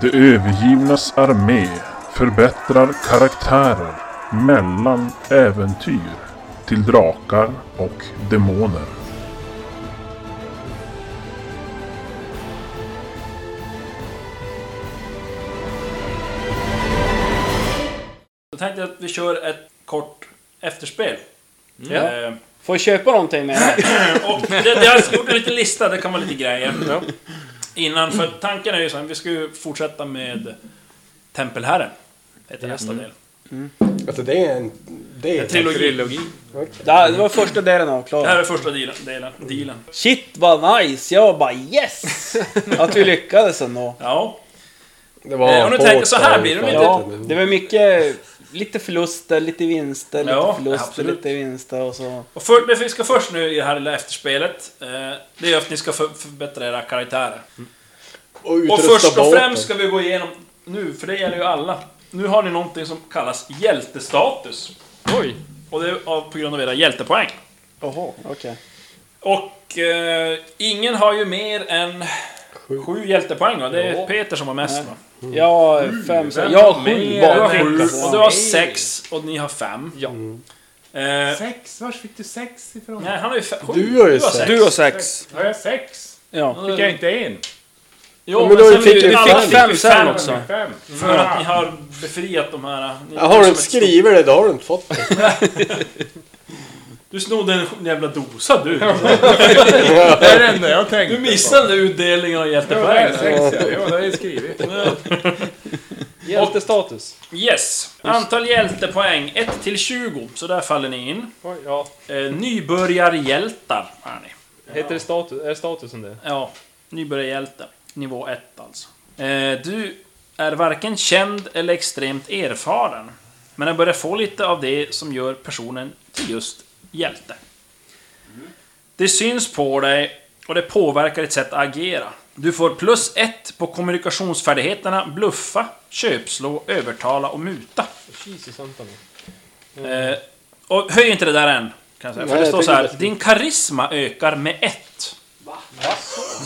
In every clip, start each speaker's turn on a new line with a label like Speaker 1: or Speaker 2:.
Speaker 1: De övergivnas armé förbättrar karaktärer mellan äventyr till drakar och demoner.
Speaker 2: Då tänkte jag att vi kör ett kort efterspel.
Speaker 3: Ja.
Speaker 2: Eh,
Speaker 3: Får jag köpa någonting med det?
Speaker 2: Och det, det har alltså gjort en liten lista, det kan vara lite grejer. Innan, för tanken är ju så här, vi ska ju fortsätta med Tempelherren. Heter nästa del.
Speaker 4: Alltså det är en... Det är
Speaker 2: En trilogi.
Speaker 5: Trilogi.
Speaker 3: Det här- det var första delen av
Speaker 2: Det här
Speaker 3: klar.
Speaker 2: är första dealen. dealen. dealen.
Speaker 3: Shit vad nice! Jag bara yes! Att vi lyckades ändå.
Speaker 2: Ja.
Speaker 4: Det
Speaker 2: Eh, om du tänker så här blir det lite-
Speaker 3: Ja, det var mycket... Lite förluster, lite vinster, lite
Speaker 2: Ja,
Speaker 3: förluster,
Speaker 2: absolut.
Speaker 3: lite vinster och så.
Speaker 2: Och för, det vi ska först nu i det här lilla efterspelet, eh, det är att ni ska för, förbättra era karaktärer. Och först och främst ska vi gå igenom nu, för det gäller ju alla. Nu har ni någonting som kallas hjältestatus.
Speaker 5: Oj!
Speaker 2: Och det är av, på grund av era hjältepoäng.
Speaker 3: Jaha, okej.
Speaker 2: Och eh, ingen har ju mer än sju, hjältepoäng va? Det är Peter som har mest va?
Speaker 3: Jag har fem, så jag har sju
Speaker 2: Du har
Speaker 3: bara.
Speaker 2: sju, och du
Speaker 3: Alltså.
Speaker 2: har sex och ni har fem.
Speaker 5: Ja.
Speaker 2: Eh,
Speaker 6: Sex? Vars fick du sex ifrån?
Speaker 2: nej, han har ju fem. sju.
Speaker 4: Du har ju sex.
Speaker 3: Du har sex.
Speaker 6: Har jag sex?
Speaker 3: Ja.
Speaker 6: Fick jag inte en?
Speaker 2: Jo,
Speaker 4: Ja,
Speaker 2: men
Speaker 4: men då
Speaker 2: sen
Speaker 4: fick
Speaker 2: är det
Speaker 4: du
Speaker 2: ju-
Speaker 4: fem.
Speaker 2: alla fick
Speaker 3: Fem
Speaker 2: ju
Speaker 3: sen
Speaker 2: fem
Speaker 3: också.
Speaker 6: Fem?
Speaker 2: För att ni har befriat de här... Ni,
Speaker 4: Ja, har du
Speaker 2: som
Speaker 4: inte
Speaker 2: ett stort-
Speaker 4: skrivit det, då har du inte fått det.
Speaker 2: Du snodde en jävla dosa du.
Speaker 6: Det är det enda jag tänkte
Speaker 2: Du missade utdelningen av
Speaker 6: på. Ja, det är
Speaker 2: hjältepoäng.
Speaker 6: sex ja. Jo, det har jag skrivit.
Speaker 3: Hjältestatus.
Speaker 2: Yes. Antal hjältepoäng 1 till 20, så där faller ni in.
Speaker 5: Oj, ja.
Speaker 2: Eh, nybörjarhjältar är ni.
Speaker 5: Heter det status? Är statusen det?
Speaker 2: Ja, nybörjarhjälte. Nivå 1 alltså. Eh, du är varken känd eller extremt erfaren. Men jag börjar få lite av det som gör personen till just hjälte. Det syns på dig och det påverkar ditt sätt att agera. Du får plus ett på kommunikationsfärdigheterna bluffa, köpslå, övertala och muta.
Speaker 5: Jesus Anton.
Speaker 2: Eh, och höj inte det där än. Kan jag säga. För
Speaker 4: Nej,
Speaker 2: det
Speaker 4: jag
Speaker 2: står så
Speaker 4: tycker
Speaker 2: här.
Speaker 4: det är-
Speaker 2: Din karisma ökar med ett.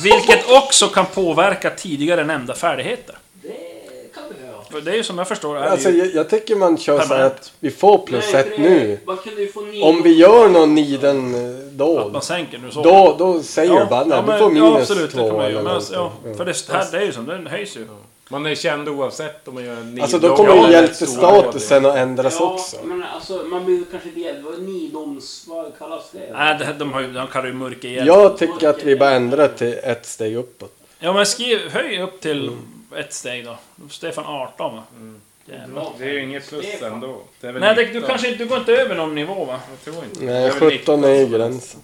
Speaker 2: Vilket också kan påverka tidigare nämnda färdigheter. Det kan det Det är ju som jag förstår är
Speaker 4: Alltså,
Speaker 2: det ju...
Speaker 4: jag, jag tycker man kör så här
Speaker 2: Permanent.
Speaker 4: att vi får plus ett nu. Om vi gör någon niden eh, då,
Speaker 2: Man sänker nu så.
Speaker 4: då, då säger du bara nej,
Speaker 2: men-
Speaker 4: du får minus
Speaker 2: ja, absolut, det kan
Speaker 4: två
Speaker 2: man ju.
Speaker 4: eller Mm.
Speaker 2: Men, alltså,
Speaker 4: någonting.
Speaker 2: ja, för det här, det är ju som, den höjs ju.
Speaker 5: Man är känd oavsett om man gör en
Speaker 4: Alltså då kommer ju hjältestatusen att ändras också.
Speaker 7: men alltså man blir kanske inte hjälp. Vad är nidoms... Vad kallas det?
Speaker 2: Nej, det, de, har ju, de kallar ju mörker igen. Ja.
Speaker 4: Jag tycker att vi bara ändrar till ett steg uppåt.
Speaker 2: men skriv, höj upp till
Speaker 4: Mm.
Speaker 2: ett steg då. Stefan 18 va? Jävlar.
Speaker 5: Det är ju inget plus ändå. Det är väl
Speaker 2: Nej, det, du
Speaker 5: 19.
Speaker 2: kanske inte- du går inte över någon nivå va?
Speaker 5: Jag tror inte. Det
Speaker 4: Nej,
Speaker 5: är väl
Speaker 4: 17 är ju
Speaker 2: alltså.
Speaker 4: gränsen.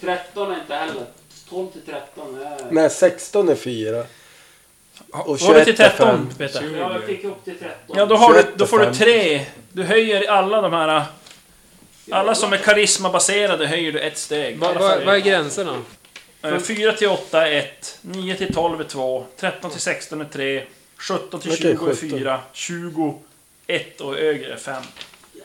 Speaker 7: 13 är inte heller. 12 till 13 är...
Speaker 4: Nej, 16 är 4. Och
Speaker 2: Var det till
Speaker 4: 21 är fem.
Speaker 2: 13 Peter?
Speaker 7: Ja, jag fick upp till 13.
Speaker 2: Ja, då, har du,
Speaker 4: 21
Speaker 2: då får du
Speaker 4: fem.
Speaker 2: tre. Du höjer alla de här... äh, Alla som är karismabaserade höjer du ett steg.
Speaker 5: Va, va, vad är gränserna?
Speaker 2: 4 till 8 är 1, 9 till 12 är 2, 13 till 16 är 3, 17 till
Speaker 4: Okej,
Speaker 2: 20 är
Speaker 4: 17.
Speaker 2: 4, 20, 1 och högre är 5.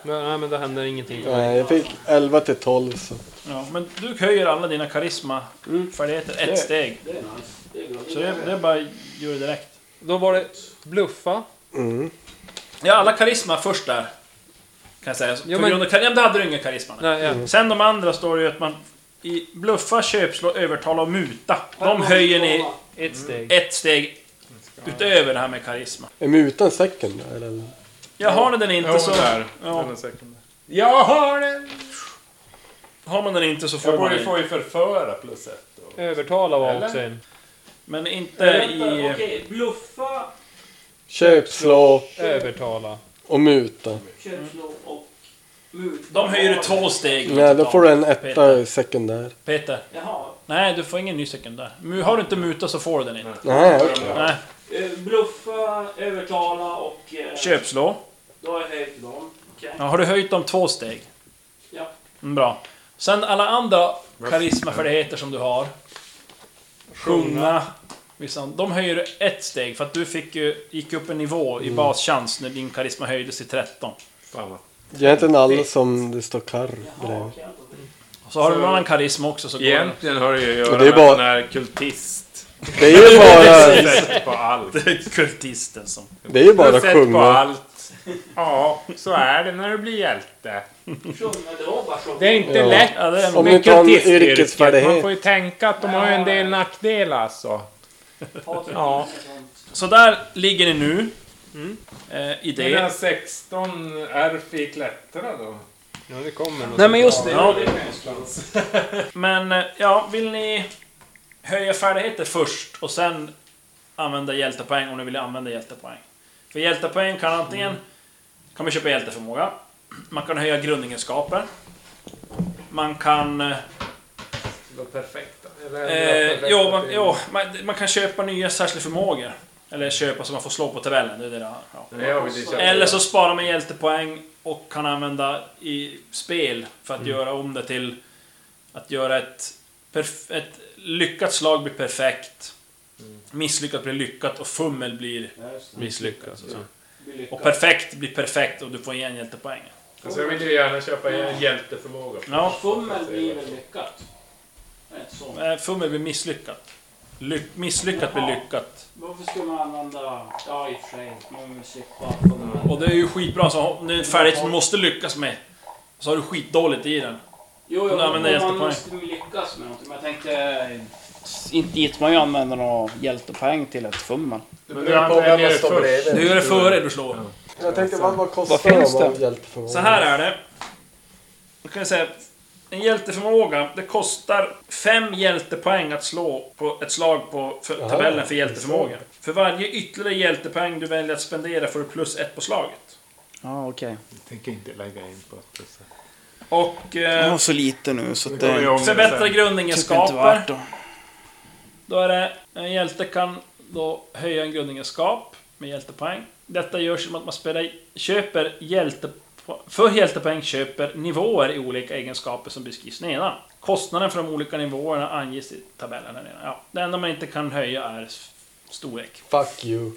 Speaker 5: Men, nej, men det händer ingenting.
Speaker 4: Nej, jag fick 11 till 12 så.
Speaker 2: Ja, men du höjer alla dina
Speaker 5: Mm.
Speaker 2: karismafärdigheter ett steg.
Speaker 7: Det är nice. Det är bra.
Speaker 2: Så det, det är bara att göra det direkt.
Speaker 5: Då var det bluffa.
Speaker 4: Mm.
Speaker 2: Ja, alla karisma först där. Kan jag säga.
Speaker 5: Jo,
Speaker 2: På
Speaker 5: men-
Speaker 2: grund av, kar- ja, men det hade du ingen karisma. Mm.
Speaker 5: Nej, ja.
Speaker 2: Sen de andra står det ju att man i bluffa, köpslå, övertala och muta. De höjer ni
Speaker 5: Ett steg.
Speaker 2: ett steg utöver det här med karisma.
Speaker 4: Är mutan second då, eller?
Speaker 2: Jag har ni den inte
Speaker 5: Jo,
Speaker 2: så...
Speaker 5: där.
Speaker 2: Ja,
Speaker 5: En sekund.
Speaker 6: Jag har den!
Speaker 2: har man den inte så
Speaker 6: Jag
Speaker 2: får man
Speaker 6: borde
Speaker 2: den.
Speaker 6: få ju förföra plus ett. då.
Speaker 5: Mm. Övertala var
Speaker 6: Eller?
Speaker 5: också en.
Speaker 2: Men inte
Speaker 7: Vänta,
Speaker 2: i...
Speaker 7: Okej, bluffa,
Speaker 4: Köp, slå
Speaker 5: Övertala.
Speaker 4: och muta.
Speaker 7: köpslå och mut.
Speaker 2: De höjer du två steg.
Speaker 4: Nej, då får du en
Speaker 2: Peter.
Speaker 4: etta sekundär.
Speaker 2: Peter.
Speaker 7: Jaha.
Speaker 2: Nej, du får ingen ny sekundär. Mu- Har du inte muta så får du den inte.
Speaker 4: Nej, okej.
Speaker 2: Nej.
Speaker 7: Eh, Bluffa, övertala och... eh,
Speaker 2: Köpslå.
Speaker 7: Då har jag höjt dem. Okej.
Speaker 2: Ja, har du höjt dem två steg?
Speaker 7: Ja.
Speaker 2: Mm, bra. Sen alla andra karismafärdigheter som du har. Sjunga. Vissa, de höjer du ett steg för att du fick ju, gick upp en nivå
Speaker 6: Mm.
Speaker 2: i baschans när din karisma höjdes till 13.
Speaker 5: Fan vad.
Speaker 4: Det är inte alla som det står karr bredvid.
Speaker 7: okej, då.
Speaker 2: Och så har du en annan karisma också så går det.
Speaker 5: Egentligen har det ju att göra
Speaker 4: Och det är
Speaker 5: med
Speaker 4: bara-
Speaker 5: att han är kultist.
Speaker 4: Det är ju bara,
Speaker 6: Sett på allt.
Speaker 2: Det är kultisten som...
Speaker 4: det är ju
Speaker 6: Du
Speaker 4: bara
Speaker 6: har
Speaker 4: att
Speaker 6: sett på
Speaker 4: sjunga.
Speaker 6: allt. Ja, så är det när du blir hjälte.
Speaker 7: Sjunga, det var bara sjunga.
Speaker 6: Det är inte
Speaker 4: Ja.
Speaker 6: lätt
Speaker 2: Ja, det är en...
Speaker 4: Om
Speaker 6: med
Speaker 4: du tar en
Speaker 6: kultistyrket.
Speaker 4: yrkesfärdighet.
Speaker 6: Man får ju tänka att de har ju en del nackdelar alltså. Ja. Mm.
Speaker 2: Så där ligger ni nu. Eh, I
Speaker 6: Det är
Speaker 2: det.
Speaker 6: 16 är fick klättra då.
Speaker 5: Ja, det kommer något.
Speaker 3: Nej men just det.
Speaker 2: Ja. Men eh, ja, vill ni höja färdigheter först och sen använda hjältepoäng om ni vill använda hjältepoäng? För hjältepoäng kan antingen...
Speaker 3: Mm.
Speaker 2: kan man köpa hjälteförmåga. Man kan höja grundegenskaper. Man kan... eh,
Speaker 6: Perfekta.
Speaker 2: Eh, ja, man, ja man, man kan köpa nya särskilda förmågor. Eller köpa så man får slå på tabellen. Det är det där. Ja. Eller så sparar man hjältepoäng och kan använda i spel för att göra om det till att göra ett, perf- ett lyckat slag blir perfekt. Misslyckat blir lyckat och fummel blir misslyckat. Så. att säga. Och perfekt blir perfekt och du får igen hjältepoäng.
Speaker 6: Alltså jag vill ju gärna köpa en hjälteförmåga.
Speaker 2: Ja.
Speaker 7: Fummel blir väl lyckat? Rätt så.
Speaker 2: eh, Fummel blir misslyckat. Lyck- misslyckat blir lyckat.
Speaker 7: Varför skulle man använda... Ja, i och för sig. Man vill slippa fummel.
Speaker 2: Och det är ju skitbra, så nu är det en färdighet som du måste lyckas med. Så har du skitdåligt i den.
Speaker 7: Jo, jo,
Speaker 2: Nej, men det är
Speaker 7: man
Speaker 2: hjältepoäng.
Speaker 7: måste lyckas med någonting. Men jag tänkte... Inte gitt man ju använder några hjältepoäng till ett fummel.
Speaker 6: Du använder ju först.
Speaker 2: Du gör det före du slår.
Speaker 4: Jag tänkte, vad, vad
Speaker 3: Vad
Speaker 4: kostar
Speaker 3: finns
Speaker 4: det
Speaker 3: det?
Speaker 4: om hjälp för
Speaker 2: Så här är det. Då kan jag säga, en hjälteförmåga, det kostar fem hjältepoäng att slå på ett slag på för tabellen för hjälteförmåga. För varje ytterligare hjältepoäng du väljer att spendera får du plus ett på slaget.
Speaker 3: Ja okej.
Speaker 6: Tänker inte lägga in på att det
Speaker 2: Och
Speaker 3: Jag
Speaker 2: eh,
Speaker 3: har så lite nu så att
Speaker 6: kommer
Speaker 3: det...
Speaker 6: jag ångra
Speaker 2: förbättra
Speaker 6: sen.
Speaker 3: Tycker inte
Speaker 2: grundegenskaper.
Speaker 3: värt det.
Speaker 2: Då är det, en hjälte kan då höja en grundegenskap med hjältepoäng. Detta görs genom att man spelar, köper hjälte, för hjältepoäng köper nivåer i olika egenskaper som beskrivs nedan. Kostnaden för de olika nivåerna anges i tabellen här nedan. Ja, det enda man inte kan höja är s- storlek.
Speaker 4: Fuck you.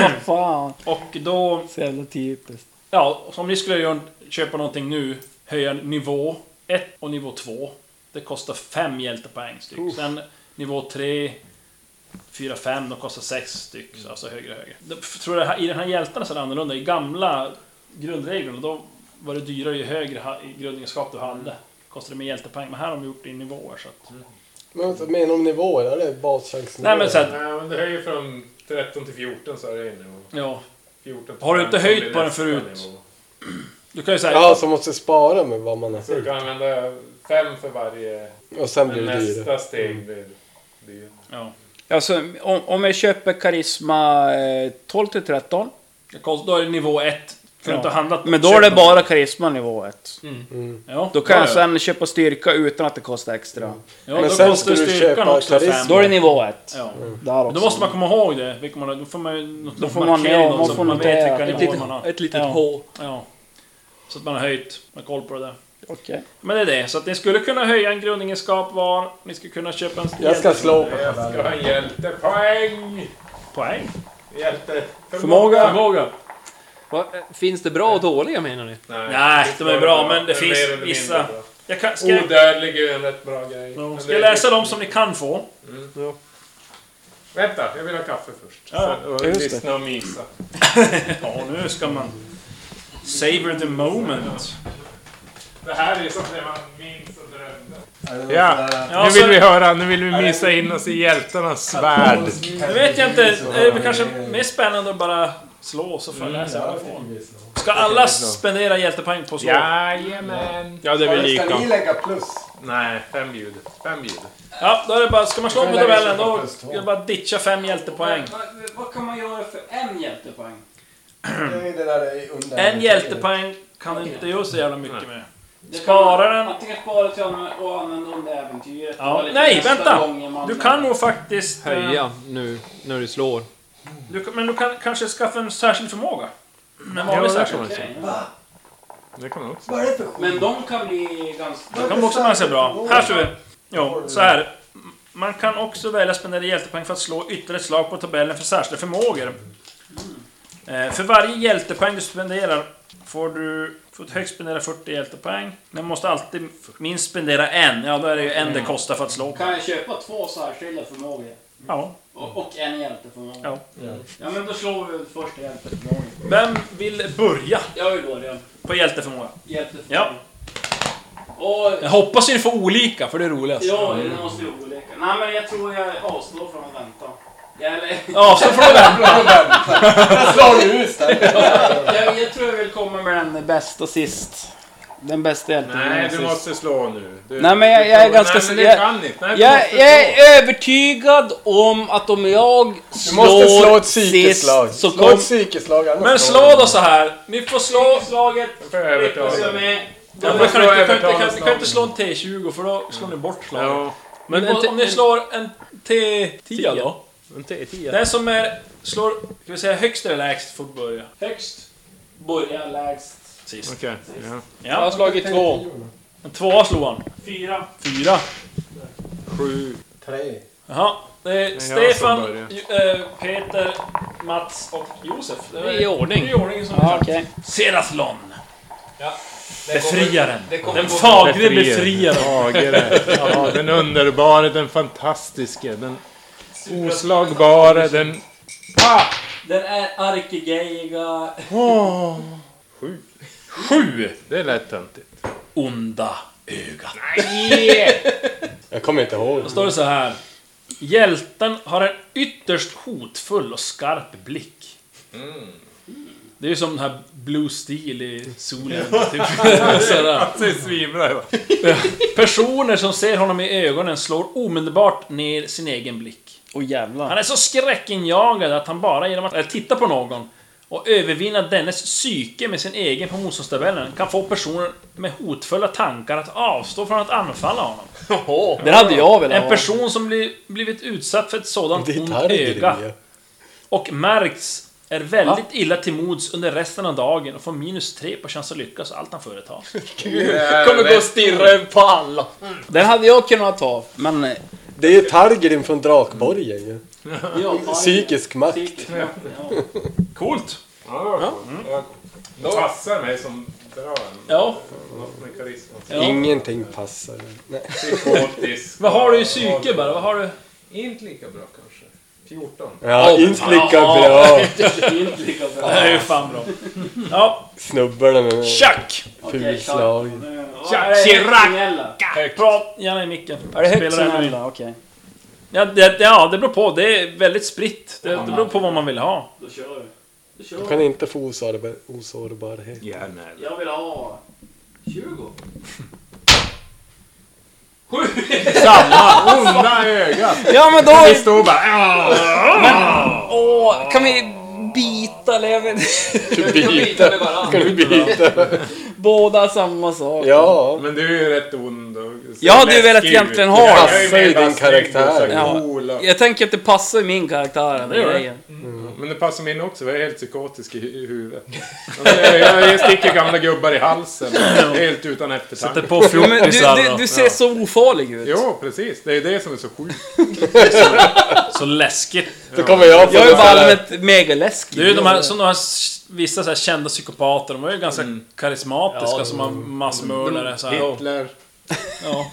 Speaker 3: Vad fan.
Speaker 2: Och då,
Speaker 3: Så jävla typiskt.
Speaker 2: ja, om ni skulle göra, köpa någonting nu, höja nivå 1 och nivå 2. Det kostar 5 hjältepoäng styck. Sen nivå 3, 4, 5, de kostar 6 styck. så Alltså högre och högre. Jag tror det här, I den här hjältarna så är det annorlunda. I gamla grundreglerna då var det dyrare ju högre ha- grundegenskap du hade. Kostade mer hjältepoäng. Men här har de gjort det i nivåer. Så att...
Speaker 4: Mm. Men vad menar om nivåer? Är det
Speaker 2: Nej
Speaker 4: baschansnivåer?
Speaker 2: men så att,
Speaker 6: Nej, men det höjer från 13 till 14 så är det ju nivå.
Speaker 2: ja.
Speaker 6: 14 till
Speaker 2: Har du inte
Speaker 6: 15
Speaker 2: höjt
Speaker 6: blir
Speaker 2: på den
Speaker 6: nästa
Speaker 2: förut?
Speaker 6: nivå.
Speaker 2: Du kan ju säga...
Speaker 4: Ja, så måste spara med vad man har.
Speaker 6: Så du kan använda fem för varje.
Speaker 4: Och sen blir det dyrare.
Speaker 6: Nästa steg blir
Speaker 2: Mm.
Speaker 6: dyrare.
Speaker 2: Ja.
Speaker 3: Alltså om, om jag köper karisma eh, 12 till 13.
Speaker 2: Det kost- Då är det nivå 1. För
Speaker 3: Ja.
Speaker 2: du inte har handlat...
Speaker 3: Men då är det bara karisma nivå 1. Då
Speaker 2: Ja,
Speaker 3: kan
Speaker 2: Mm. ja,
Speaker 3: jag
Speaker 2: ja.
Speaker 3: sen köpa styrka utan att det kostar extra.
Speaker 2: Ja,
Speaker 4: Men
Speaker 2: då
Speaker 4: sen
Speaker 2: kostar
Speaker 4: ska du
Speaker 2: styrkan
Speaker 4: köpa
Speaker 2: också
Speaker 4: karisma.
Speaker 2: fem.
Speaker 3: Då är det nivå 1.
Speaker 2: Ja.
Speaker 3: Där också.
Speaker 2: Då måste man komma ihåg det. Vilka man, då får man ju något,
Speaker 3: Då får
Speaker 2: någon
Speaker 3: man-
Speaker 2: markering,
Speaker 3: ja,
Speaker 2: något
Speaker 3: man
Speaker 2: som
Speaker 3: får
Speaker 2: man
Speaker 3: något
Speaker 2: vet
Speaker 3: där.
Speaker 2: vilka
Speaker 3: Ett
Speaker 2: nivåer man har.
Speaker 3: ett litet
Speaker 2: ja.
Speaker 3: H.
Speaker 2: Ja. Så att man har höjt, man har koll på det där.
Speaker 3: Okej.
Speaker 2: Men det är det. Så att ni skulle kunna höja en grundegenskap var. Ni skulle kunna köpa en
Speaker 4: Jag ska slå på
Speaker 6: Jag ska ha hjältepoäng!
Speaker 2: poäng.
Speaker 6: Hjälteförmåga!
Speaker 5: Förmåga. Va, eh, finns det bra och dåliga menar ni?
Speaker 2: Nej, de är bra, men det
Speaker 6: är
Speaker 2: finns
Speaker 6: mer eller mindre
Speaker 2: vissa-
Speaker 6: bra.
Speaker 2: Jag kan, ska,
Speaker 3: Oh,
Speaker 2: jag,
Speaker 6: Odödlig är ju en rätt bra grej. Men
Speaker 2: ska
Speaker 6: det-
Speaker 2: jag läsa dem som ni kan få?
Speaker 6: Vänta, jag vill ha kaffe först.
Speaker 2: Ja,
Speaker 6: Sen- och
Speaker 3: just det.
Speaker 6: lyssna och mysa.
Speaker 2: Ja, nu ska man... Savor the moment.
Speaker 6: Det här är ju som det man minns och drömde.
Speaker 4: Ja.
Speaker 2: Ja, så-
Speaker 6: höra, nu vill vi mysa in oss i hjältarnas svärd.
Speaker 2: Nu vet jag inte, det är väl kanske mer spännande att bara slå och så får jag läsa
Speaker 3: Mm,
Speaker 2: vad jag får. Ska alla spendera hjältepoäng på att slå?
Speaker 6: Jajamän! Ja, det
Speaker 4: Ska ni lägga plus?
Speaker 6: Nej, fem bjud. Fem bjud.
Speaker 2: Ja, då är det bara, ska man slå på tabellen då
Speaker 4: Plus två.
Speaker 2: är det bara att ditcha fem hjältepoäng.
Speaker 7: Vad, vad kan man göra för en hjältepoäng?
Speaker 2: En hjältepoäng kan du inte göra så jävla mycket med.
Speaker 7: Det kan
Speaker 2: Spara
Speaker 7: man-
Speaker 2: den.
Speaker 7: Antingen spara till honom och använda den där äventyret. Det
Speaker 2: Ja.
Speaker 7: var lite
Speaker 2: Nej,
Speaker 7: nästa
Speaker 2: vänta!
Speaker 7: gången man-
Speaker 2: Du kan nog faktiskt... eh,
Speaker 5: Höja nu när du slår.
Speaker 2: Du, kan- men du kan kanske skaffa en särskild förmåga. En vanlig särskild.
Speaker 7: Okej.
Speaker 6: Det kan man också.
Speaker 4: Vad är det för skit?
Speaker 7: Men de kan bli ganska...
Speaker 2: Det kan också ganska bra. Här ser vi. Jo, så här. Man kan också välja att spendera hjältepoäng för att slå ytterligare ett slag på tabellen för särskilda förmågor. Eh, För varje hjältepoäng du spenderar får du får du högst spendera 40 hjältepoäng. Men måste alltid minst spendera en. Ja, då är det ju en det
Speaker 6: Mm.
Speaker 2: kostar för att slå.
Speaker 7: Kan jag köpa två särskilda förmågor?
Speaker 2: Ja.
Speaker 7: Och, och en hjälteförmåga?
Speaker 2: Ja.
Speaker 7: Ja, men då slår vi väl först hjälteförmågan.
Speaker 2: Vem vill börja
Speaker 7: Jag vill börja.
Speaker 2: på hjälteförmåga?
Speaker 7: Hjälteförmåga. Och...
Speaker 5: Jag hoppas ni får olika, för det är roligast.
Speaker 7: Ja, det måste ju olika. Nej, men jag tror jag avstår från att vänta. Jag, eller,
Speaker 2: Ja, så får du vänta.
Speaker 4: Jag slår nu ut den.
Speaker 7: jag, jag tror jag vill komma med den bästa sist. Den bästa hjälten.
Speaker 6: Nej, du måste slå nu. Du,
Speaker 3: Nej, men jag-
Speaker 6: du
Speaker 3: jag är
Speaker 6: får-
Speaker 3: ganska-
Speaker 6: Nej, men det
Speaker 3: jag-
Speaker 6: kan inte. Nej, du
Speaker 3: Jag,
Speaker 6: måste
Speaker 3: jag
Speaker 6: slå.
Speaker 3: är övertygad om att om jag
Speaker 4: Du
Speaker 3: slår
Speaker 4: måste slå ett
Speaker 3: sist
Speaker 4: psykeslag.
Speaker 3: så
Speaker 4: Slå
Speaker 3: kom...
Speaker 4: ett psykeslag. annars
Speaker 2: Men
Speaker 4: slår
Speaker 2: slå
Speaker 4: du.
Speaker 2: då så här. Ni får slå...
Speaker 7: Slaget
Speaker 6: För övertaget.
Speaker 7: som är...
Speaker 2: Ja, men
Speaker 6: får
Speaker 2: ni kan, inte-
Speaker 6: slå
Speaker 2: ni kan, inte- ni kan,
Speaker 6: övertaget
Speaker 2: ni kan inte
Speaker 6: slag.
Speaker 2: slå en T20 för då slår ni bort slaget.
Speaker 6: Ja.
Speaker 2: Men
Speaker 5: en
Speaker 2: om,
Speaker 5: te-
Speaker 2: om ni
Speaker 5: en-
Speaker 2: slår en T10 då?
Speaker 5: En t- tia.
Speaker 2: Den som är, slår, ska vi säga högst eller lägst får börja.
Speaker 7: Högst. Börja lägst.
Speaker 2: Sist.
Speaker 6: Okej. Ja.
Speaker 2: Jag har slagit två. En tvåa slog han.
Speaker 7: Fyra.
Speaker 2: Fyra.
Speaker 6: Sju.
Speaker 4: Tre.
Speaker 2: Jaha. Det är
Speaker 6: jag
Speaker 2: Stefan,
Speaker 6: som börjar.
Speaker 2: Ju- eh, Peter, Mats och Josef. Det
Speaker 5: Det är i ordning.
Speaker 2: Det är i ordning som
Speaker 7: Ja,
Speaker 2: ja.
Speaker 7: okej.
Speaker 2: Seraflon.
Speaker 5: Ja.
Speaker 2: Befriaren.
Speaker 5: det kommer
Speaker 2: Den
Speaker 5: gå-
Speaker 2: fagre befriaren.
Speaker 6: Fagre. Ja, den underbara, den fantastiske, den oslagbara, den...
Speaker 7: Den är arkegeiga.
Speaker 6: Åh,
Speaker 2: Sju.
Speaker 6: det lät töntigt.
Speaker 2: Onda ögat.
Speaker 4: Jag kommer inte ihåg.
Speaker 2: Då står det så här. Hjälten har en ytterst hotfull och skarp blick. Det är ju som den här Blue Steel i solen. Typ. Sådär.
Speaker 6: Det svimlar
Speaker 2: Personer som ser honom i ögonen slår omedelbart ner sin egen blick.
Speaker 7: Åh jävlar.
Speaker 2: Han är så skräckinjagad att han bara genom att eh, titta på någon och övervinna dennes psyke med sin egen på motståndstabellen kan få personer med hotfulla tankar att avstå från att anfalla honom.
Speaker 7: Den hade jag velat
Speaker 2: En person som blir, blivit utsatt för ett sådant
Speaker 4: Det är
Speaker 2: ont
Speaker 4: targen.
Speaker 2: öga
Speaker 4: ja.
Speaker 2: och märks är väldigt illa till mods under resten av dagen och får minus tre på chans att lyckas allt han företar.
Speaker 5: kommer gå och stirra på alla.
Speaker 3: Mm. Den hade jag kunnat ta.
Speaker 7: Men... eh,
Speaker 4: Det är Targrim från Drakborgen. ju.
Speaker 7: Ja,
Speaker 4: Psykisk makt.
Speaker 7: psykisk makt, ja.
Speaker 2: Coolt!
Speaker 6: Ja, det passar mig som bra.
Speaker 2: Ja,
Speaker 6: Något med karisma.
Speaker 2: Ja.
Speaker 4: Ingenting passar. Nej.
Speaker 6: Psykotisk.
Speaker 2: vad har du i psyke bara? Vad har du?
Speaker 6: Inte lika bra kanske. 14.
Speaker 4: Ja, inte lika bra.
Speaker 7: Inte lika bra.
Speaker 2: Det är ju fan bra. Ja,
Speaker 4: Snubbarna med
Speaker 2: tjack!
Speaker 7: Okej, klart.
Speaker 4: fulslag.
Speaker 7: Nu-
Speaker 2: Tja,
Speaker 7: Vad är
Speaker 2: Chirac!
Speaker 7: Sinella?
Speaker 2: Prat gärna i micken.
Speaker 7: Är det högt
Speaker 2: Spelar den
Speaker 7: Sinella? Okej.
Speaker 2: Ja det, ja, det beror på. Det är väldigt spritt. Det, det beror på vad man vill ha.
Speaker 7: Då kör vi. Då
Speaker 4: Du
Speaker 7: kör vi.
Speaker 4: kan inte få osårbar, osårbarhet.
Speaker 6: Järnhäll.
Speaker 7: Jag vill ha... 20.
Speaker 6: Samma onda öga.
Speaker 3: Ja men då...
Speaker 6: Vi står bara... "Ah."
Speaker 3: Åh, kan vi bita eller jag vet
Speaker 4: Du biter. Ska du bita?
Speaker 3: Båda samma sak.
Speaker 4: Ja.
Speaker 6: Men du är ju rätt ond och...
Speaker 3: Jag hade ju velat egentligen ha
Speaker 6: Jag
Speaker 4: det. Passar
Speaker 6: är ju
Speaker 4: ju
Speaker 6: mer bara
Speaker 4: din
Speaker 6: snygg och
Speaker 4: karaktär.
Speaker 6: så
Speaker 3: Ja.
Speaker 6: cool och-
Speaker 3: Jag tänker att det passar i min karaktär. Den
Speaker 2: Det gör det.
Speaker 3: grejen.
Speaker 6: Men det passar mig in också, jag är helt psykotisk i hu- i huvudet. Alltså, jag, jag sticker gamla gubbar i halsen, helt utan eftertanke.
Speaker 2: på
Speaker 3: Jo, men du, du, du ser så ofarlig ut.
Speaker 6: Jo, precis. Det är det som är så sjukt.
Speaker 2: Så läskigt.
Speaker 4: Då kommer jag få
Speaker 3: Jag är ju
Speaker 4: det
Speaker 3: bara
Speaker 4: så här.
Speaker 3: allmänt megaläskig.
Speaker 2: Det är ju de här, som de här s- vissa så här kända psykopater. De var ju ganska
Speaker 5: Mm.
Speaker 2: karismatiska som har massmördare. Så här.
Speaker 6: Hitler.
Speaker 2: Ja.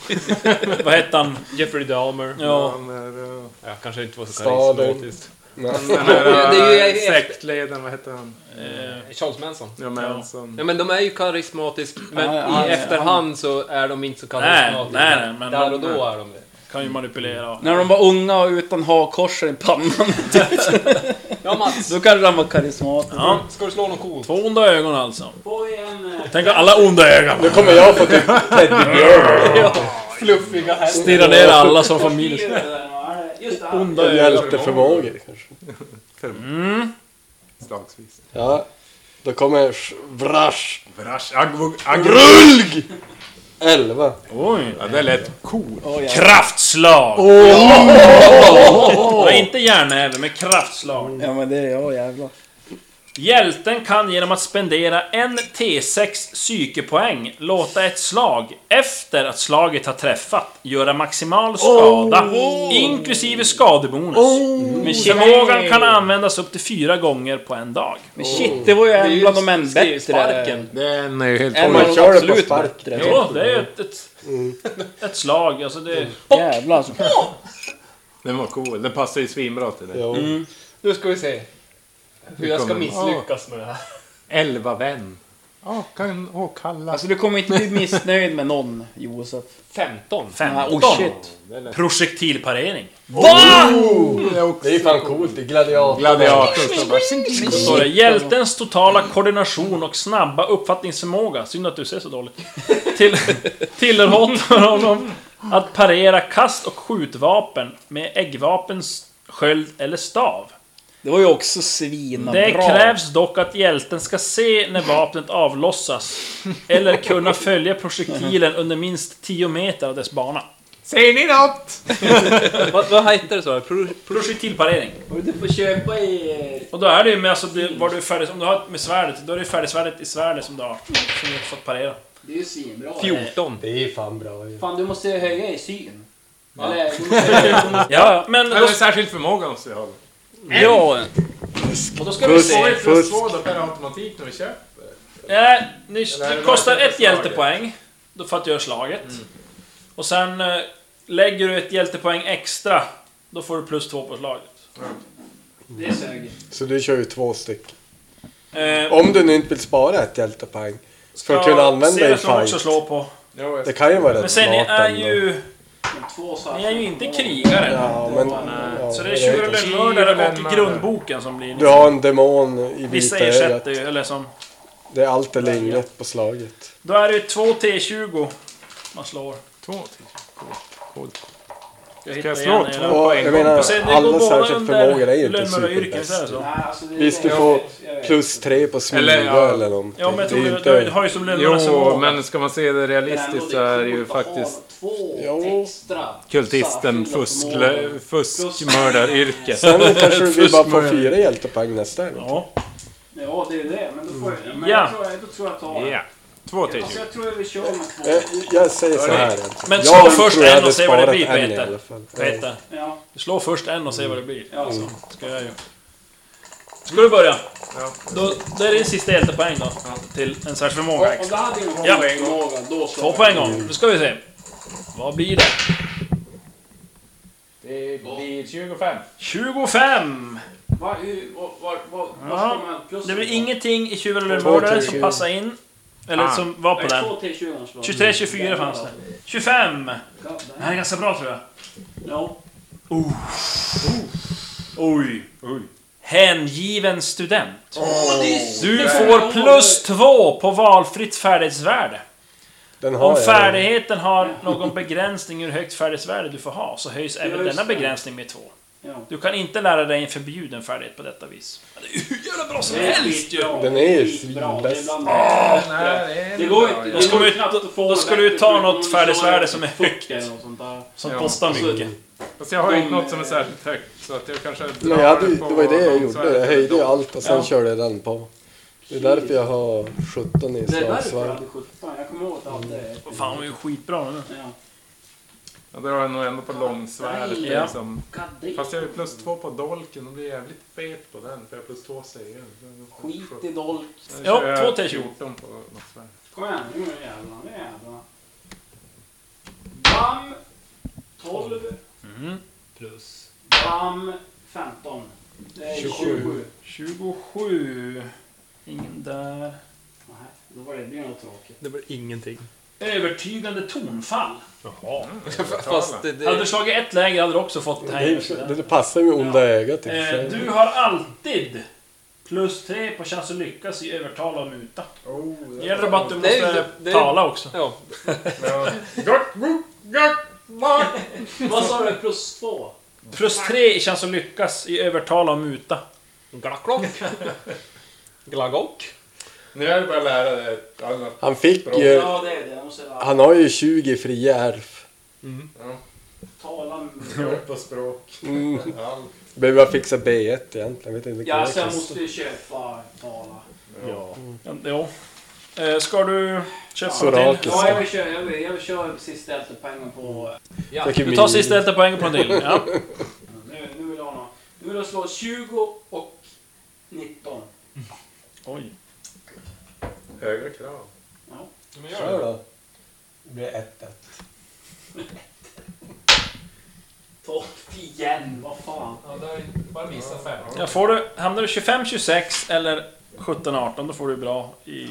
Speaker 2: Vad hette han?
Speaker 5: Jeffrey Dahmer.
Speaker 2: Ja.
Speaker 6: Han är, eh,
Speaker 5: Ja, kanske inte var så
Speaker 4: Staden.
Speaker 5: karismatisk.
Speaker 6: den här,
Speaker 5: Det är ju- jag
Speaker 6: eh,
Speaker 5: är-
Speaker 6: sektledaren, vad heter han?
Speaker 5: Eh, Charles Manson.
Speaker 6: Ja, Manson.
Speaker 5: Ja, men de är ju karismatiska, men
Speaker 7: Ja, ja,
Speaker 5: i
Speaker 7: ja.
Speaker 5: efterhand så är de inte så
Speaker 2: Nej,
Speaker 5: karismatiska.
Speaker 2: nej, nej, men
Speaker 5: Där och
Speaker 2: de
Speaker 5: då är de det.
Speaker 2: kan ju manipulera. och-
Speaker 3: När de var unga och utan hakkorsar i pannan.
Speaker 5: Ja, Mats.
Speaker 3: Då kanske han var karismatisk.
Speaker 2: Ja.
Speaker 5: Ska du slå någon cool?
Speaker 2: Två onda ögon alltså.
Speaker 7: Får vi en... eh,
Speaker 2: Tänk alla onda ögon.
Speaker 4: Då kommer jag få typ
Speaker 5: Fluffiga hästar.
Speaker 2: Stirrar ner alla som får minus.
Speaker 7: fyra
Speaker 5: eh,
Speaker 7: där, vad är det? Just det. här.
Speaker 2: Onda ögon.
Speaker 4: hjälteförmågor kanske.
Speaker 6: Slagsvis.
Speaker 4: Ja. Då kommer sh- Vrash.
Speaker 6: Vrash. Agvog. Agvog.
Speaker 4: Brulg! Elva.
Speaker 2: Oj.
Speaker 6: Ja, det lät coolt.
Speaker 2: Kraftslag! Det var inte järnhäve, men kraftslag.
Speaker 3: Ja men det är jag jävlar.
Speaker 2: Hjälten kan genom att spendera en T6 psykepoäng låta ett slag efter att slaget har träffat göra maximal skada, inklusive skadebonus.
Speaker 7: Men shit,
Speaker 2: Förmågan kan användas upp till fyra gånger på en dag.
Speaker 7: men shit det var ju en bland de en
Speaker 5: skriv
Speaker 7: bättre.
Speaker 5: sparken.
Speaker 6: Den är ju helt...
Speaker 7: En
Speaker 4: man
Speaker 7: av de
Speaker 4: kör det på
Speaker 7: absolut
Speaker 4: spark.
Speaker 7: bättre.
Speaker 2: Jo, det är ju ett, ett, ett slag. Alltså det,
Speaker 7: Jävlar alltså.
Speaker 6: Den var cool. Den passar ju svinbra till dig.
Speaker 4: Jo.
Speaker 2: Mm.
Speaker 5: Nu ska vi se. Hur jag ska
Speaker 6: kommer-
Speaker 5: misslyckas med det här.
Speaker 6: Elva vän. Ja, kan åkalla.
Speaker 7: Alltså du kommer inte bli missnöjd med någon Josef.
Speaker 5: 15.
Speaker 7: Nej,
Speaker 2: 15.
Speaker 7: oh shit.
Speaker 2: Projektilparering.
Speaker 6: Oh,
Speaker 4: Det är ju fan coolt. Det är gladiator.
Speaker 6: Gladiator. som bara-
Speaker 2: Står det. Hjältens totala koordination och snabba uppfattningsförmåga, synd att du ser så dåligt, till, tillåter honom att parera kast och skjutvapen med äggvapens sköld eller stav.
Speaker 7: Det var ju också svina
Speaker 2: Det
Speaker 7: bra.
Speaker 2: krävs dock att hjälten ska se när vapnet avlossas eller kunna följa projektilen under minst 10 meter av dess bana.
Speaker 6: Ser ni något?
Speaker 5: Vad, vad hette det så? Pro, pro,
Speaker 2: Projektilparering.
Speaker 5: du får köpa i...
Speaker 2: Och då är det ju med alltså, det, var du färdig, om du har med svärdet, då är det färdigsvärdet i svärdet som du har. Som du inte fått parera.
Speaker 7: Det är ju svinbra.
Speaker 5: 14.
Speaker 4: Det är fan bra ju.
Speaker 7: Fan du måste höja i syn. Eller, du måste...
Speaker 2: Ja, men
Speaker 6: Eller
Speaker 2: då,
Speaker 6: särskilt förmågan måste vi ha.
Speaker 7: ja.
Speaker 2: och då ska vi se.
Speaker 6: Får vi plus två då per automatik när vi köper?
Speaker 2: Nej, ni, det
Speaker 6: det
Speaker 2: kostar
Speaker 6: verkligen
Speaker 2: ett
Speaker 6: slaget?
Speaker 2: hjältepoäng då för att göra slaget. Och sen eh, lägger du ett hjältepoäng extra, då får du plus två på slaget.
Speaker 7: Det sög.
Speaker 4: Så du kör ju två stycken.
Speaker 2: Eh,
Speaker 4: Om du nu inte vill spara ett hjältepoäng. För att
Speaker 2: ska
Speaker 4: kunna använda i
Speaker 2: se vad de också
Speaker 4: fight.
Speaker 2: slår på.
Speaker 6: Jo, jag
Speaker 4: Det kan ju vara rätt
Speaker 2: Men sen, ni
Speaker 4: smart
Speaker 2: är
Speaker 4: ändå.
Speaker 2: ju,
Speaker 7: Två så
Speaker 2: ni är ju inte krigare.
Speaker 4: Ja, men, ja,
Speaker 2: Så det är
Speaker 4: jag vet inte.
Speaker 2: tjurlönnmördare och
Speaker 6: Tjurlönnmördare.
Speaker 2: grundboken som blir... Liksom,
Speaker 4: Du har en demon i
Speaker 2: vissa
Speaker 4: vita ögat.
Speaker 2: ersätter ju, eller som...
Speaker 4: Det är allt eller inget på slaget.
Speaker 2: Då är det ju två T20 man slår.
Speaker 6: Två till.
Speaker 2: Jag
Speaker 6: Ska
Speaker 2: hittar
Speaker 6: jag slå
Speaker 2: igen
Speaker 6: två
Speaker 2: era-
Speaker 6: på
Speaker 4: Och jag
Speaker 6: en gång?
Speaker 4: menar,
Speaker 2: Sen, det går
Speaker 4: alla
Speaker 2: båda
Speaker 4: särskilt
Speaker 2: under
Speaker 4: förmågor är ju inte
Speaker 2: lönnmördaryrken, så är det
Speaker 4: superbäst.
Speaker 2: så.
Speaker 7: alltså,
Speaker 4: Visst, du får plus tre på smidiga
Speaker 6: Eller, ja.
Speaker 4: eller någonting.
Speaker 2: Ja men jag
Speaker 4: det är ju
Speaker 2: tror
Speaker 4: inte...
Speaker 2: du, du har ju som lönnmördare
Speaker 6: Jo,
Speaker 2: som
Speaker 6: men ska man se det realistiskt så är det ju faktiskt
Speaker 7: Två
Speaker 4: Jo.
Speaker 7: extra.
Speaker 6: kultisten fuskle- fuskmördaryrket.
Speaker 4: Sen kanske du vill bara få
Speaker 6: Fuskmördare.
Speaker 4: fyra hjältepoäng nästa gång.
Speaker 2: Ja.
Speaker 7: Ja, det är det. Men då får jag... Men
Speaker 2: Ja.
Speaker 7: jag tror jag, då tror jag tar
Speaker 6: Ja. Två till.
Speaker 7: Alltså jag tror jag vi kör med två.
Speaker 4: Jag, Eh, jag säger så här. alltså.
Speaker 2: Men
Speaker 4: Jag
Speaker 2: slå
Speaker 4: tror
Speaker 2: först
Speaker 4: jag
Speaker 2: en
Speaker 4: hade
Speaker 2: och se vad det
Speaker 4: sparat
Speaker 2: blir,
Speaker 4: en i
Speaker 2: Peter.
Speaker 4: alla fall.
Speaker 2: Peter.
Speaker 7: Ja.
Speaker 2: Du slår först en och ser vad det blir.
Speaker 7: Ja, så.
Speaker 2: Ska jag ju. Ska du börja?
Speaker 6: Ja.
Speaker 2: Då, då är det din sista hjältepoäng då. Till en särskild förmåga
Speaker 7: Om
Speaker 2: extra.
Speaker 7: du hade en
Speaker 2: Ja.
Speaker 7: hållförmåga, då slår
Speaker 2: Två på en gång. Nu ska vi se. Vad blir det?
Speaker 6: Det blir 25.
Speaker 2: 25!
Speaker 7: Var, hur, var, var, var, var
Speaker 2: Ja,
Speaker 7: slår man plus?
Speaker 2: Det blir ingenting i Tjuven eller mördaren som passar in. Eller
Speaker 6: Ah.
Speaker 2: som var på
Speaker 7: Nej,
Speaker 2: den.
Speaker 7: två till 20 slår.
Speaker 2: 23, 24 fanns det. 25! Det
Speaker 7: Ja, där.
Speaker 2: här är ganska bra tror jag.
Speaker 7: Ja.
Speaker 2: Oj. Hängiven student.
Speaker 7: det är så-
Speaker 2: Du får plus två på valfritt färdighetsvärde.
Speaker 4: Den har
Speaker 2: Om
Speaker 4: jag.
Speaker 2: färdigheten har någon begränsning hur högt färdighetsvärde du får ha så höjs även
Speaker 7: just
Speaker 2: denna
Speaker 7: det.
Speaker 2: begränsning med två.
Speaker 7: Ja.
Speaker 2: Du kan inte lära dig en förbjuden färdighet på detta vis. Ja, Det är hur jävla bra som
Speaker 7: Det är
Speaker 2: helst ju!
Speaker 7: skitbra.
Speaker 4: Den är ju
Speaker 7: Skitbra. Det är
Speaker 4: svinbäst.
Speaker 7: bland det
Speaker 6: Nej,
Speaker 7: Det går inte.
Speaker 2: Då ska
Speaker 7: det går
Speaker 2: man ju-
Speaker 7: knappt att få
Speaker 2: då ska du ju
Speaker 7: rätt.
Speaker 2: ta
Speaker 7: Det går
Speaker 2: något
Speaker 7: ju
Speaker 2: färdesvärde
Speaker 7: bara
Speaker 2: som är
Speaker 7: 40
Speaker 2: högt.
Speaker 7: eller något sånt där.
Speaker 2: Som
Speaker 6: Ja.
Speaker 2: kostar mycket.
Speaker 6: Fast jag har inte något som är särskilt högt. Så att jag kanske...
Speaker 4: Nej, jag hade, ju- det var ju det jag gjorde. Jag höjde ju allt och sen
Speaker 7: Ja.
Speaker 4: körde jag den på. Det är därför jag har 17 i
Speaker 7: Det är därför jag
Speaker 4: slagsvärd.
Speaker 7: hade 17. Jag kommer ihåg att jag hade...
Speaker 2: Vad Fan, hon är ju skitbra nu.
Speaker 7: Ja.
Speaker 6: Ja, det var jag nog ändå på långsvärdet.
Speaker 2: Ja.
Speaker 6: Liksom.
Speaker 7: God damn.
Speaker 6: Fast jag är plus två på dolken och blir jävligt fet på den. För jag har plus två segrar.
Speaker 7: Skit i dolk.
Speaker 6: Sen
Speaker 2: Ja,
Speaker 6: kör jag
Speaker 2: två till
Speaker 6: 14 på något svärd.
Speaker 7: Kom igen, nu jävlar, nu jävlar. Bam! 12.
Speaker 5: Plus.
Speaker 7: Mm. Bam! 15. Det är 27.
Speaker 2: 27. Ingen där.
Speaker 7: Nej, då var det, det blir något tråkigt.
Speaker 5: Det blir ingenting.
Speaker 2: Övertygande tonfall.
Speaker 5: Fast det...
Speaker 2: Hade
Speaker 5: det
Speaker 2: du slagit ett läger hade du också fått den
Speaker 4: Det,
Speaker 2: här
Speaker 4: är- det passar ju med onda ögat i och för
Speaker 2: Eh,
Speaker 4: sig.
Speaker 2: Du har alltid plus tre på chans att lyckas i övertala och muta. Det gäller bara att du
Speaker 5: Det är-
Speaker 2: måste
Speaker 5: det är-
Speaker 2: tala också.
Speaker 5: ja.
Speaker 7: Vad sa du? Plus 2?
Speaker 2: Plus tre i chans att lyckas i övertala och muta.
Speaker 5: Glaglock. Glagock.
Speaker 6: Nu är det bara att lära dig ett annat.
Speaker 4: Han fick ju...
Speaker 7: Ja, det är det. Jag måste ha-
Speaker 4: Han har ju 20 fria ärf.
Speaker 7: tala med...
Speaker 6: Språk på språk.
Speaker 4: Mm.
Speaker 6: Allt.
Speaker 4: Behöver jag fixa B1 egentligen? Jag vet inte vilken
Speaker 7: Ja, så jag
Speaker 4: kostar.
Speaker 7: måste ju köpa... Ja,
Speaker 2: Ja, Jo. Eh, Ska du köpa
Speaker 8: Ja,
Speaker 2: till?
Speaker 5: Ja, jag vill köra, jag vill, jag vill köra sista hjältepengen på... eh,
Speaker 2: Du tar sista hjältepoängen på en till. Ja.
Speaker 5: Nu, nu vill jag ha något. Nu vill jag slå 20 och 19.
Speaker 2: Oj.
Speaker 6: Höga krav.
Speaker 9: Kör då. Det blir 1
Speaker 5: Topp igen, vad fan.
Speaker 10: Bara missa fem.
Speaker 2: Ja, får du, hamnar du 25, 26 eller 17, 18 då får du bra i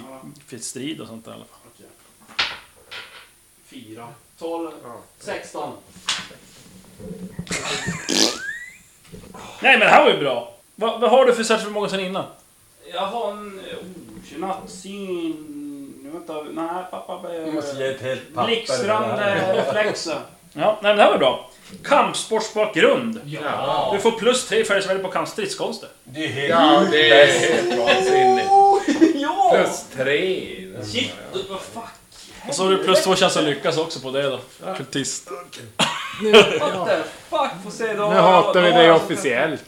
Speaker 2: i strid och sånt där i alla fall.
Speaker 5: 4, 12, 16.
Speaker 2: Nej men det här var ju bra! Vad, vad har du för certifikat sen innan?
Speaker 5: Jag har en... Oh, tjena, syn... Nu vänta, nej pappa... eh,
Speaker 9: Du måste ge ett helt papper.
Speaker 5: Blixtrande reflexer.
Speaker 2: Ja, nej men det här var bra. Kampsportsbakgrund.
Speaker 6: Ja.
Speaker 2: Du får plus 3 färdighetsvärde på kamp stridskonster.
Speaker 9: Det är helt...
Speaker 6: Ja, det är helt vansinnigt.
Speaker 5: ja!
Speaker 6: Plus tre.
Speaker 5: Shit, vad fuck?
Speaker 2: Och så har du plus 2 chans att lyckas också på det då. Kultist.
Speaker 5: What the fuck? Får se då.
Speaker 6: Nu hatar vi dig officiellt.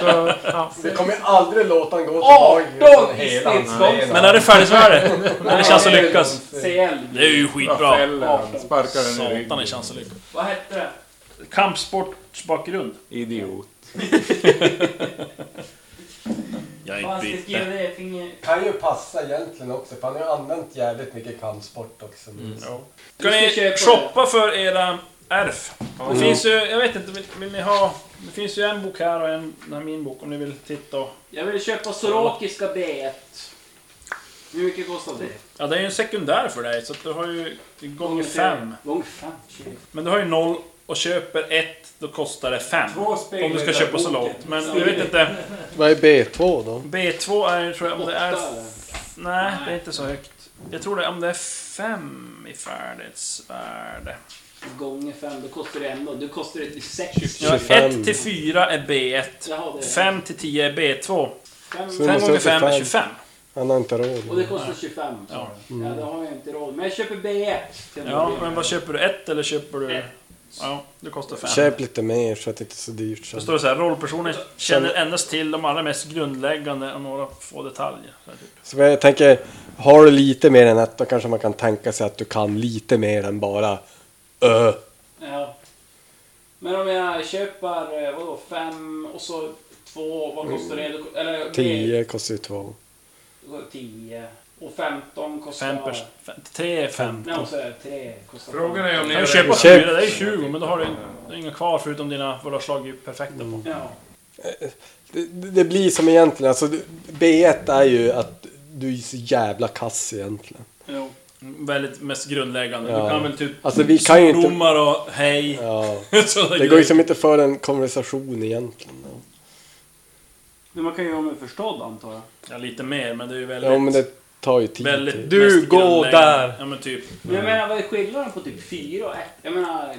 Speaker 6: Så, ja.
Speaker 9: Det kommer ju aldrig låta den gå
Speaker 5: 18 i
Speaker 9: hela den här
Speaker 5: stridskonst.
Speaker 2: Men är det färdighetsvärde? Är det chans att lyckas?
Speaker 5: CL.
Speaker 2: Det är ju
Speaker 6: Vad
Speaker 2: skitbra.
Speaker 6: fäller han? Sparkar den i
Speaker 2: Satan är
Speaker 6: ryggen.
Speaker 2: chans att lyckas.
Speaker 5: Vad hette det?
Speaker 2: Kampsportsbakgrund.
Speaker 6: Idiot.
Speaker 2: Jag
Speaker 5: Vad ska jag skriva det? Finger...
Speaker 9: kan ju passa egentligen också för han har ju använt jävligt mycket kampsport också.
Speaker 2: Ska ni shoppa för era RF? Det finns ju, jag vet inte, vill, vill ni ha... Det finns ju en bok här och en, den här min bok om ni vill titta. och-
Speaker 5: Jag vill köpa Sorokiska B1. Hur mycket kostar det?
Speaker 2: Ja, det är ju en sekundär för dig, så att du har ju det är gånger fem.
Speaker 5: Gånger fem. shit.
Speaker 2: Men du har ju noll och köper ett, då kostar det fem. Om du ska köpa så lågt. Men jag vet inte.
Speaker 9: Vad är B2 då?
Speaker 2: B2 är, tror jag, om det är...
Speaker 5: Åtta, eller?
Speaker 2: Nej, det är inte så högt. Jag tror det, om det är fem i färdighetsvärde.
Speaker 5: Gånger fem, då kostar det ändå. Du kostar det till sex.
Speaker 2: Ja,
Speaker 9: 25.
Speaker 2: 1 till 4 är B1.
Speaker 5: Jaha, det är-
Speaker 2: 5 till 10 är B2.
Speaker 5: Fem.
Speaker 9: Så- måste
Speaker 2: 5 gånger
Speaker 9: jag till
Speaker 2: 5 är
Speaker 9: fem.
Speaker 2: 25.
Speaker 9: Han har inte råd.
Speaker 5: Och det kostar 25.
Speaker 2: Ja.
Speaker 5: Ja. ja, det har jag inte råd med. Men jag köper B1. till
Speaker 2: Ja,
Speaker 5: mig.
Speaker 2: men vad köper du? Ett eller köper du...
Speaker 5: Mm. Ett.
Speaker 2: Ja, det kostar fem.
Speaker 4: Köp lite mer så att det inte är så dyrt
Speaker 2: Då
Speaker 4: sen.
Speaker 2: står det så här, rollpersonen känner endast till de allra mest grundläggande och några få detaljer. Så här, typ.
Speaker 4: Så jag tänker, har du lite mer än ett då kanske man kan tänka sig att du kan lite mer än bara ö.
Speaker 5: Ja. Men om jag köper eh, vadå, fem och så två, vad kostar det? Då- Eller,
Speaker 4: 10 kostar ju två.
Speaker 5: det- tio. Och 15 kostar...
Speaker 2: Fem pers... fem- Tre är fem.
Speaker 5: Nej, och så är det tre kostar...
Speaker 6: Frågan är om ni
Speaker 2: Kan du
Speaker 6: har
Speaker 2: köpa
Speaker 6: rätt.
Speaker 4: Köp.
Speaker 2: fyra? Det är ju 20, men då har du in- inga kvar förutom dina, vad du har slagit perfekta på.
Speaker 5: Ja.
Speaker 4: Det, det det blir som egentligen, alltså du- B1 är ju att du är så jävla kass egentligen.
Speaker 5: Jo.
Speaker 2: Mm, Väldigt mest grundläggande. Du
Speaker 4: Ja.
Speaker 2: kan väl typ
Speaker 4: Alltså vi kan ju inte...
Speaker 2: svordomar och hej.
Speaker 4: Ja.
Speaker 2: sådana
Speaker 4: Det går
Speaker 2: grejer.
Speaker 4: ju som inte för en konversation egentligen.
Speaker 5: Men man kan ju göra mig förstådd antar jag.
Speaker 2: Ja, lite mer, men det är ju väldigt...
Speaker 4: Ja men det tar ju tid.
Speaker 2: väldigt
Speaker 4: Du
Speaker 2: mest
Speaker 4: går
Speaker 2: grundläggande.
Speaker 4: där.
Speaker 2: Ja, men typ.
Speaker 5: Men jag menar vad är skillnaden på typ fyra och ett? Jag menar...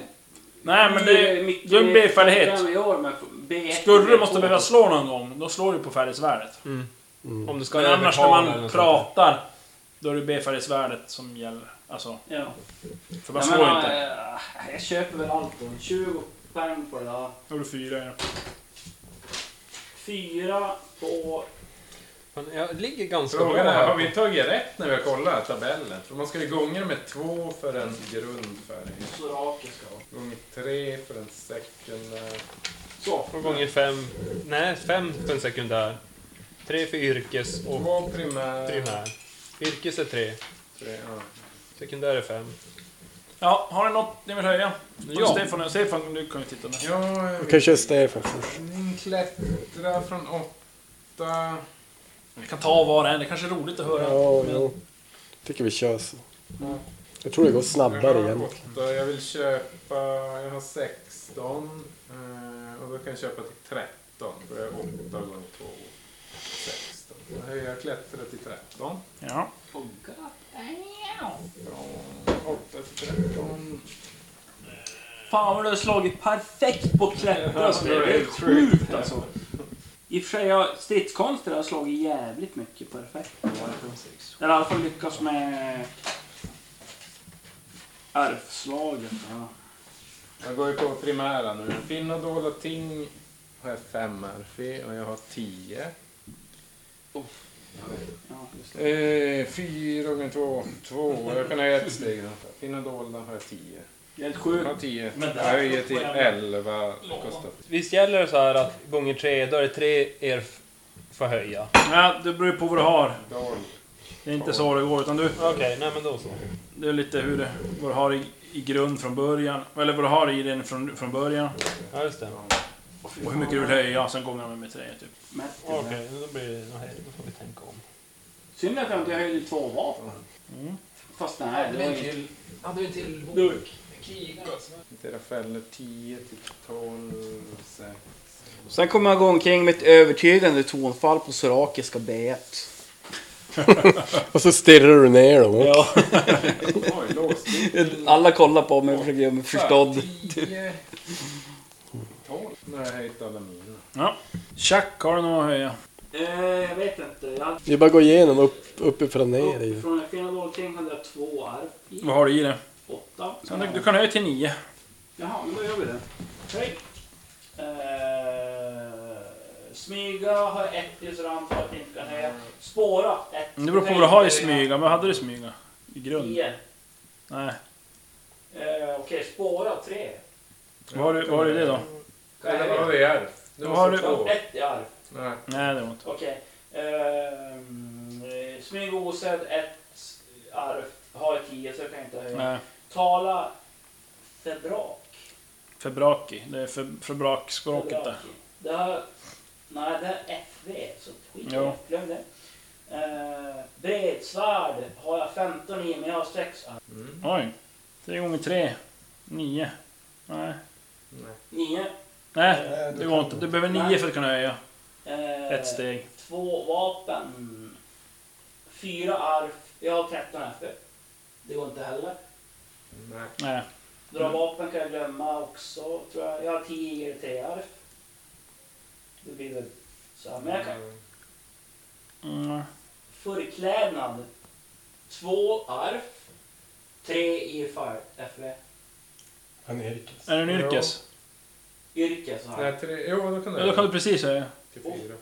Speaker 2: Nej, men det
Speaker 5: fyra
Speaker 2: är,
Speaker 5: mycket
Speaker 2: det är en B-färdighet.
Speaker 5: fram i år, men B1
Speaker 2: Skulle du
Speaker 5: B2.
Speaker 2: måste behöva slå någon gång, då slår du på färdighetsvärdet.
Speaker 10: Mm.
Speaker 4: Mm.
Speaker 10: Om du ska
Speaker 2: Men annars när
Speaker 10: övertala eller
Speaker 2: man
Speaker 10: något sånt där.
Speaker 2: pratar, då är det B-färdighetsvärdet som gäller. Alltså,
Speaker 5: Ja.
Speaker 2: för man
Speaker 5: Jag
Speaker 2: slår ju
Speaker 5: menar,
Speaker 2: inte.
Speaker 5: eh, jag köper väl allt då. 20 poäng på det där.
Speaker 2: Då är det fyra, ja.
Speaker 5: Fyra på...
Speaker 10: Fan, Jag ligger ganska bra
Speaker 6: Frågan är,
Speaker 10: här.
Speaker 6: har vi tagit rätt när vi har kollat tabellen? För man ska ju gånger med två för en grundfärdighet.
Speaker 5: Så raken ska vara.
Speaker 6: Gånger tre för en secondär.
Speaker 5: Så.
Speaker 10: Två gånger fem. Nej, fem för en sekundär. Tre för yrkes och
Speaker 6: Två primär.
Speaker 10: primär. Yrkes är tre.
Speaker 6: Tre, ja.
Speaker 10: Sekundär är fem.
Speaker 2: Ja, har ni något ni vill höja? Ja.
Speaker 10: Ja.
Speaker 2: Stefan, Stefan, du kan ju titta nu.
Speaker 6: Ja, jag
Speaker 4: Du
Speaker 6: vet
Speaker 4: kan köra Stefan först.
Speaker 6: Min klättra från åtta.
Speaker 2: Vi kan ta var och en, det kanske är roligt att höra.
Speaker 4: Ja, jo. Tycker vi kör så. Jag tror det går
Speaker 6: jag
Speaker 4: snabbare
Speaker 6: har
Speaker 4: egentligen.
Speaker 6: åtta. Jag vill köpa, jag har 16. eh, Och då kan jag köpa till 13. För jag är 8 gånger 2. 16. Då höjer jag klättra till 13.
Speaker 2: Ja.
Speaker 5: Funkar.
Speaker 6: Från 8 till 13.
Speaker 5: Fan vad du har slagit perfekt på klättra. så det är helt sjukt alltså. I och för sig, jag, stridskonster har jag slagit jävligt mycket perfekt. Eller i alla fall lyckats med arvslaget. Ja.
Speaker 6: Jag går ju på primära nu. Finna dolda ting har jag 5 RF och jag har 10.
Speaker 7: Ja, just det.
Speaker 6: Eh, fyra gånger två. Två. Jag kan höja ett steg. Finna dolda har jag tio.
Speaker 7: Helt
Speaker 6: Jag
Speaker 7: sjukt.
Speaker 6: har tio.
Speaker 7: Men
Speaker 6: Jag
Speaker 7: där-
Speaker 6: höjer till elva. Kostar.
Speaker 5: Visst gäller det så här att gånger tre, då är det tre er får höja?
Speaker 2: Ja, det beror ju på vad du har.
Speaker 6: Dolda.
Speaker 2: Det är inte så det går, utan du...
Speaker 5: Okej, nej men då så.
Speaker 2: Det är lite hur det, vad du har i, i grund från början. Eller vad du har i den från, från början.
Speaker 5: Ja, just det.
Speaker 2: Och hur mycket du vill höja, sen gånger man med tre, typ.
Speaker 5: Okej, då blir det... Nej, då får vi tänka om.
Speaker 7: Synd att jag inte höjde två vapen.
Speaker 11: Mm.
Speaker 7: Fast nej, det var inget.
Speaker 12: Hade vi en till
Speaker 7: Durk.
Speaker 6: Dera fällor 10 till 12. sex.
Speaker 11: Sen kommer jag gå omkring med ett övertygande tonfall på sorakiska B1.
Speaker 4: Och så stirrar du ner dem.
Speaker 11: Ja.
Speaker 6: Oj, låst.
Speaker 5: Mm.
Speaker 11: Alla kollar på mig och försöker göra mig förstådd.
Speaker 6: 10. 12. Nu har jag höjt alla mina.
Speaker 2: Tjack, har du något att höja?
Speaker 7: Eh, jag vet inte. Jag
Speaker 4: Det är bara att gå igenom upp, uppifrån ner. i det.
Speaker 7: från Fina Dolking hade jag två arv i.
Speaker 2: Vad har du i det?
Speaker 7: Åtta.
Speaker 2: Sen, du, du kan höja till nio.
Speaker 7: Jaha, men då gör vi det. Hej. Eh, smyga har jag ett i så det antar jag att jag inte kan höja. Spåra ett.
Speaker 2: Det beror på vad du har i smyga. Vad hade du i smyga? I grund?
Speaker 7: Tio.
Speaker 2: Nej.
Speaker 7: Eh, Okej, spåra tre.
Speaker 2: Vad har du, vad har du i det då?
Speaker 7: Kan jag
Speaker 6: Eller vad
Speaker 7: höja?
Speaker 6: har vi här? Det
Speaker 2: Vad har du-
Speaker 6: var så två.
Speaker 7: Ett i arv.
Speaker 6: Nej.
Speaker 2: Nej, det var inte.
Speaker 7: Okej. Ehm, Eh, smyg och osedd, ett arv. Har jag tio så jag kan inte höja.
Speaker 2: Nej.
Speaker 7: Tala febrak.
Speaker 2: Febraki. Det är fe, febrakspråket där.
Speaker 7: Det har... Nej, det är FV. Så skit i
Speaker 2: Jo.
Speaker 7: det. Glöm det. Eh, bredsvärd har jag 15 i, men jag har 6 arv.
Speaker 2: Oj. Tre gånger tre. Nio. Nej.
Speaker 7: 9.
Speaker 2: Nej, det går inte. Du behöver nio
Speaker 7: Nej.
Speaker 2: för att kunna höja.
Speaker 7: Eh,
Speaker 2: Ett steg.
Speaker 7: Två vapen. Fyra arv. Jag har 13 FV. Det går inte heller.
Speaker 6: Nej.
Speaker 2: Nej.
Speaker 7: Dra
Speaker 2: Mm.
Speaker 7: vapen kan jag glömma också, tror jag. Jag har 10 IRTR. Det blir väl så här. Men jag kan...
Speaker 2: Mm.
Speaker 7: Förklädnad. Två arv. Tre IFR. FV.
Speaker 4: Han är riktigt.
Speaker 2: Är det en yrkes?
Speaker 7: Yrke så här.
Speaker 6: Nej, tre. Jo, då kan du
Speaker 2: Ja, då kan
Speaker 6: höja
Speaker 2: du precis höja.
Speaker 6: till fyra.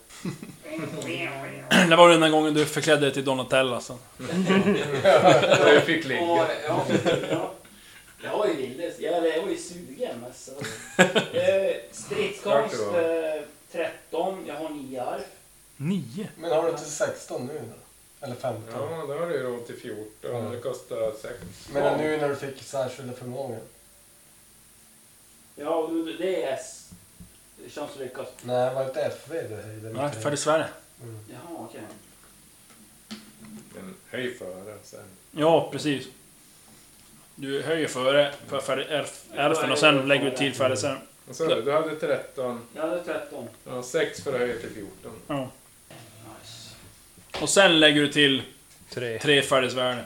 Speaker 2: Det var den där gången du förklädde dig till alltså. Donatella sen.
Speaker 6: Ja, Jag fick ligga.
Speaker 7: Och, ja, ja. Jag var ju villig. Jag, jag var ju sugen. Alltså. Eh, stridskonst
Speaker 6: Klart det
Speaker 7: eh, 13. Jag har 9 arv.
Speaker 2: Nio?
Speaker 4: Men har du inte 16 nu Eller 15?
Speaker 6: Ja, då har du ju råd till
Speaker 2: Mm.
Speaker 6: 14. Det kostar 6.
Speaker 4: Men nu när du fick särskilda förmågor?
Speaker 7: Ja, och det är S. Det känns som lyckas.
Speaker 4: Nej, var inte FV du höjde?
Speaker 2: Nej, för i Sverige.
Speaker 7: Jaha, okej.
Speaker 6: Men höj före sen.
Speaker 2: Ja, precis. Du höjer före för färdig- elf- elfen och sen lägger du till färdig sen.
Speaker 6: Vad sa du? Du hade 13.
Speaker 7: Jag hade 13.
Speaker 6: Ja, 6 för att höja till 14.
Speaker 7: Nice.
Speaker 2: Och sen lägger du till
Speaker 5: Tre.
Speaker 2: tre färdighetsvärde.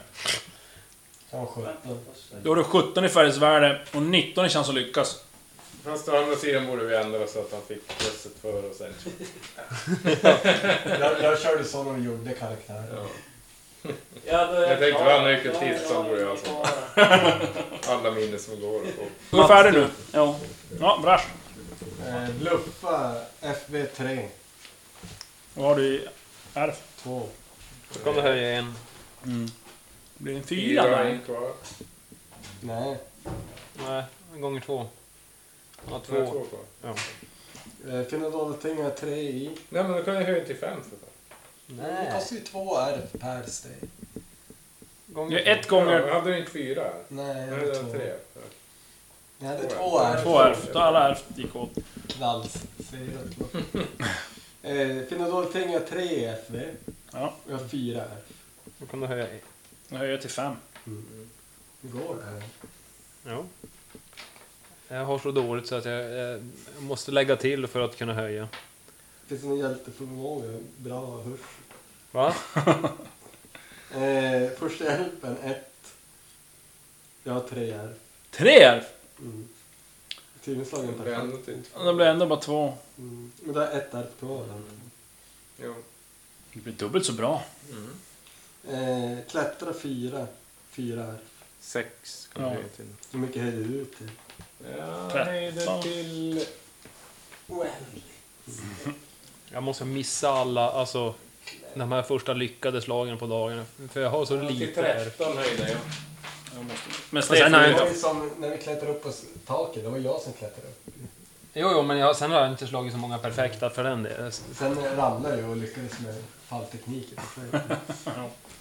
Speaker 4: Ja, 17.
Speaker 2: Då har du 17 i färdighetsvärde och 19 i chans att lyckas.
Speaker 6: Fast å andra sidan borde vi ändra så att han fick plusset före och sen.
Speaker 4: Jag, jag körde så när du gjorde karaktärer.
Speaker 7: Ja, då är
Speaker 6: Jag tänkte,
Speaker 7: klar.
Speaker 6: vad nöjkigt
Speaker 7: Ja,
Speaker 6: tips, så borde jag alltså- så.
Speaker 7: ja,
Speaker 6: Alla minnen som går att få.
Speaker 2: Är du färdig nu? Ja. Ja, brasch.
Speaker 4: Eh, bluffa FV3.
Speaker 2: Vad har du i elf?
Speaker 4: 2.
Speaker 5: Då kan du höja en.
Speaker 2: Det blir en fyra
Speaker 6: Fyra har
Speaker 2: där.
Speaker 6: en kvar.
Speaker 4: Nej.
Speaker 5: Nej, gånger två. Ja,
Speaker 6: Nu har jag
Speaker 5: två.
Speaker 6: två kvar.
Speaker 4: Eh, Finna dolda ting har jag 3 i.
Speaker 6: Nej, men då kan jag höja till fem för fan.
Speaker 4: Det kostar ju 2 R per steg.
Speaker 5: Gånger
Speaker 2: Det är ett
Speaker 6: Ja,
Speaker 2: gånger
Speaker 6: men hade du inte fyra här?
Speaker 4: Nej, jag
Speaker 6: Nej, det
Speaker 4: hade
Speaker 6: var
Speaker 4: 2.
Speaker 6: tre. Ja.
Speaker 4: Jag hade 2 R.
Speaker 2: två elf. Då har alla elf gick åt.
Speaker 4: Valsserat. eh, Finna dolda ting har jag 3 i FV.
Speaker 2: Ja.
Speaker 4: Och jag har 4 R.
Speaker 5: Då kan du höja en.
Speaker 2: Nu höjer jag till fem.
Speaker 4: Hur går det här?
Speaker 5: Ja. Jag har så dåligt så att jag, eh, måste lägga till för att kunna höja.
Speaker 4: Finns det någon hjälteförmåga? Bra hörs.
Speaker 5: Va?
Speaker 4: Eh, första hjälpen 1. Jag har 3 R.
Speaker 2: Tre elf!
Speaker 4: Mm. Tydligen slog jag
Speaker 6: Det blir ändå typ-
Speaker 4: perfekt.
Speaker 6: till
Speaker 2: Och Då blir det ändå bara två.
Speaker 4: Mm. Men det är ett R kvar. Mm.
Speaker 6: Jo. Mm.
Speaker 2: Det blir dubbelt så bra.
Speaker 4: Eh, klättra fyra. Fyra är.
Speaker 6: Sex kan
Speaker 2: Ja.
Speaker 6: jag höja till.
Speaker 4: Hur mycket höjde du ut till?
Speaker 6: Ja,
Speaker 2: Tretton.
Speaker 6: höjde till...
Speaker 5: Jag måste missa alla, alltså de här första lyckade slagen på dagen. För jag har så
Speaker 6: Till
Speaker 5: lite här.
Speaker 6: 13 höjde jag.
Speaker 2: Men
Speaker 5: Och sen har jag
Speaker 2: Stefan,
Speaker 5: inte...
Speaker 4: som när vi klättrade upp på taket, det var jag som klättrade upp.
Speaker 5: Jo, jo, men jag, sen har jag inte slagit så många perfekta för den delen.
Speaker 4: Sen ramlade jag och lyckades med falltekniken.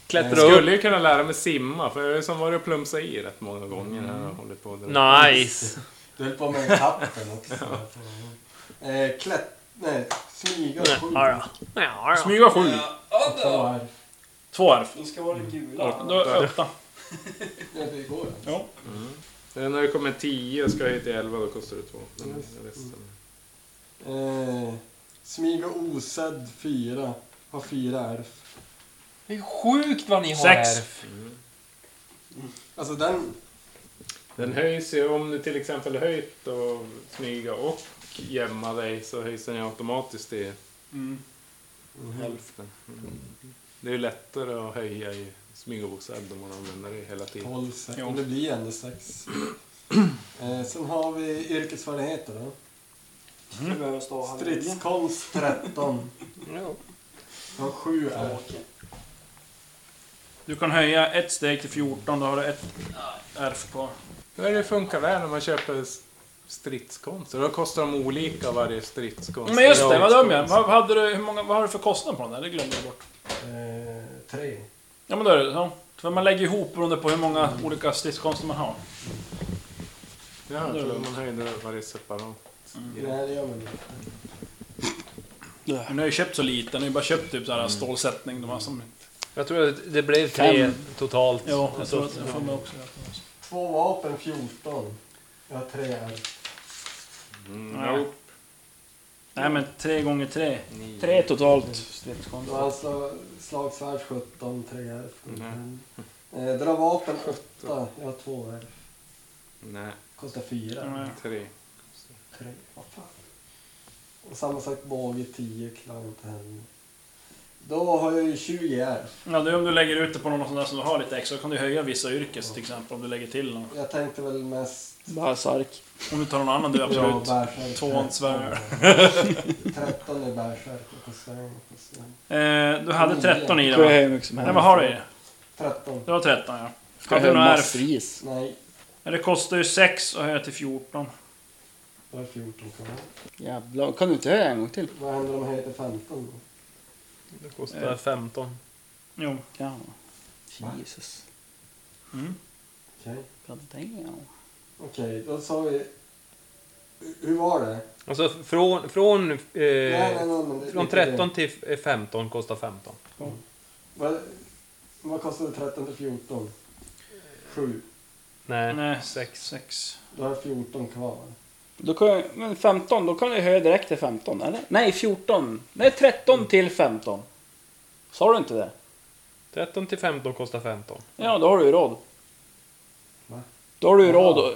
Speaker 5: Klättra
Speaker 6: Jag skulle ju kunna lära mig simma, för jag har ju som varit och plumsa i rätt många gånger när jag har hållit på. och dragit.
Speaker 5: Nice!
Speaker 4: Du höll på med katten också. eh, klätt... Nej, smyga och skjut.
Speaker 5: Ja, då. Ja, då.
Speaker 2: smyga sju.
Speaker 13: Ja,
Speaker 4: Så
Speaker 13: då.
Speaker 4: här.
Speaker 2: Två arv.
Speaker 13: Då ska vara det gula.
Speaker 7: Mm.
Speaker 2: Då åtta.
Speaker 4: Ja, det går.
Speaker 6: Sen Eh, när det kommer 10 och ska jag hit till 11, då kostar det 2. Men resten.
Speaker 4: Eh, smyga osedd fyra. Har fyra ärf.
Speaker 5: Det är sjukt vad ni har
Speaker 2: Sex.
Speaker 5: här.
Speaker 4: Alltså den...
Speaker 6: Den höjs ju, om du till exempel höjt och smyga och gömma dig så höjs den ju automatiskt till Mm. hälften. Det är ju lättare att höja i smyga och osedd om man använder det hela tiden.
Speaker 4: Håll sig. Men det blir ändå sex. Eh, sen har vi yrkesfärdigheter då.
Speaker 13: Du behöver stå här.
Speaker 4: Stridskonst 13.
Speaker 13: Jo.
Speaker 4: Har sju ärf.
Speaker 2: Du kan höja ett steg till 14, då har du ett ärf på.
Speaker 6: Det här funkar väl när man köper s- stridskonst. Då kostar de olika varje stridskonst.
Speaker 2: Men just det, vad dum jag är. vad, hade du, hur många, vad har du för kostnad på den där? Det glömde jag bort.
Speaker 4: Eh, tre.
Speaker 2: Ja men då är det så. För man lägger ihop beroende på hur många olika stridskonster man har.
Speaker 6: Ja, jag tror man höjde varje separat.
Speaker 4: Nej, det gör man inte.
Speaker 2: Men ni har ju köpt så lite, ni har ju bara köpt typ så här stålsättning. De här som...
Speaker 5: Jag tror att det blev tre
Speaker 2: Fem.
Speaker 5: totalt.
Speaker 2: Ja, jag tror att jag får med också.
Speaker 4: Två vapen 14. Jag har tre ärf.
Speaker 7: Mm,
Speaker 2: Nej. Nej men tre gånger tre.
Speaker 7: Tre totalt
Speaker 4: Då
Speaker 7: stridskonster.
Speaker 4: har han sla- alltså slagsvärd 17, tre ärf. Eh, dra vapen 8. Jag har två ärf.
Speaker 6: Nej,
Speaker 4: Kostar fyra.
Speaker 2: Nej.
Speaker 6: tre.
Speaker 4: Tre. Vad fan. Och samma sak båge 10. Klarar inte henne. Då har jag ju 20 ärf.
Speaker 2: Ja, det är om du lägger ut det på någon sån där som du har lite extra, då kan du höja vissa yrkes till exempel om du lägger till någon.
Speaker 4: Jag tänkte väl mest...
Speaker 7: Bara sark.
Speaker 2: Om du tar någon annan du absolut.
Speaker 4: Ja, bärsärk.
Speaker 2: Tvåan svär.
Speaker 4: 13 är bärsärk och på sväng och på sväng.
Speaker 2: Eh, du hade 13 i den
Speaker 7: Ska jag
Speaker 2: va?
Speaker 7: höja hur mycket som helst?
Speaker 2: Nej, vad har du i?
Speaker 4: 13.
Speaker 2: Det var 13 ja.
Speaker 7: Ska
Speaker 2: Hade du
Speaker 7: jag höja
Speaker 2: några ärf?
Speaker 7: massvis?
Speaker 4: Nej,
Speaker 2: Ja, Det kostar ju 6 att höja till 14.
Speaker 4: då är 14 kvar.
Speaker 7: Jävlar, kan du inte höja en gång till?
Speaker 4: Vad händer om jag heter 15 då?
Speaker 5: Det kostar 15.
Speaker 2: Jo.
Speaker 7: Ja. Jesus.
Speaker 2: Mm.
Speaker 4: Okej.
Speaker 7: God damn.
Speaker 4: Okej, då sa vi... Hur var det?
Speaker 7: Eh,
Speaker 5: Alltså från, från,
Speaker 4: nej,
Speaker 5: eh,
Speaker 4: nej, nej, men det-
Speaker 5: från
Speaker 4: det är
Speaker 5: 13 till eh, 15 kostar 15.
Speaker 4: Vad, vad kostade 13 till 14? 7.
Speaker 5: Nej.
Speaker 2: Nej, 6. 6.
Speaker 4: Då har jag 14 kvar.
Speaker 7: Då kan jag, men 15, då kan jag höja direkt till 15, eller? Nej, 14. Nej, 13 till 15. Sa du inte det?
Speaker 5: 13 till 15 kostar 15.
Speaker 7: Ja, då har du ju råd.
Speaker 4: Va?
Speaker 7: Då har du ju
Speaker 4: Jaha.
Speaker 7: råd och,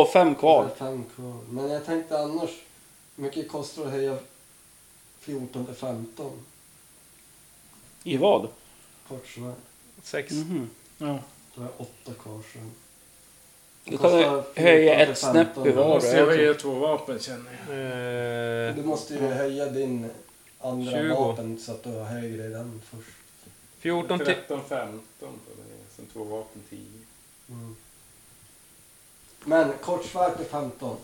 Speaker 7: och fem
Speaker 4: Då
Speaker 7: kvar.
Speaker 4: är fem kvar. Men jag tänkte annars, hur mycket kostar det att höja 14 till 15?
Speaker 7: I vad?
Speaker 4: Kort svar.
Speaker 5: 6.
Speaker 7: Mhm.
Speaker 2: Ja.
Speaker 4: Då har jag 8 kvar sen.
Speaker 7: Då kan du höja ett snäpp i
Speaker 6: Jag
Speaker 7: var.
Speaker 6: måste jag höja två vapen känner jag.
Speaker 5: Eh,
Speaker 4: Du måste ju höja din andra
Speaker 5: 20.
Speaker 4: vapen så att du har högre i den först.
Speaker 5: 14 till...
Speaker 6: 13, 15 på det. Sen två vapen, 10.
Speaker 4: Mm. Men kort svar till 15.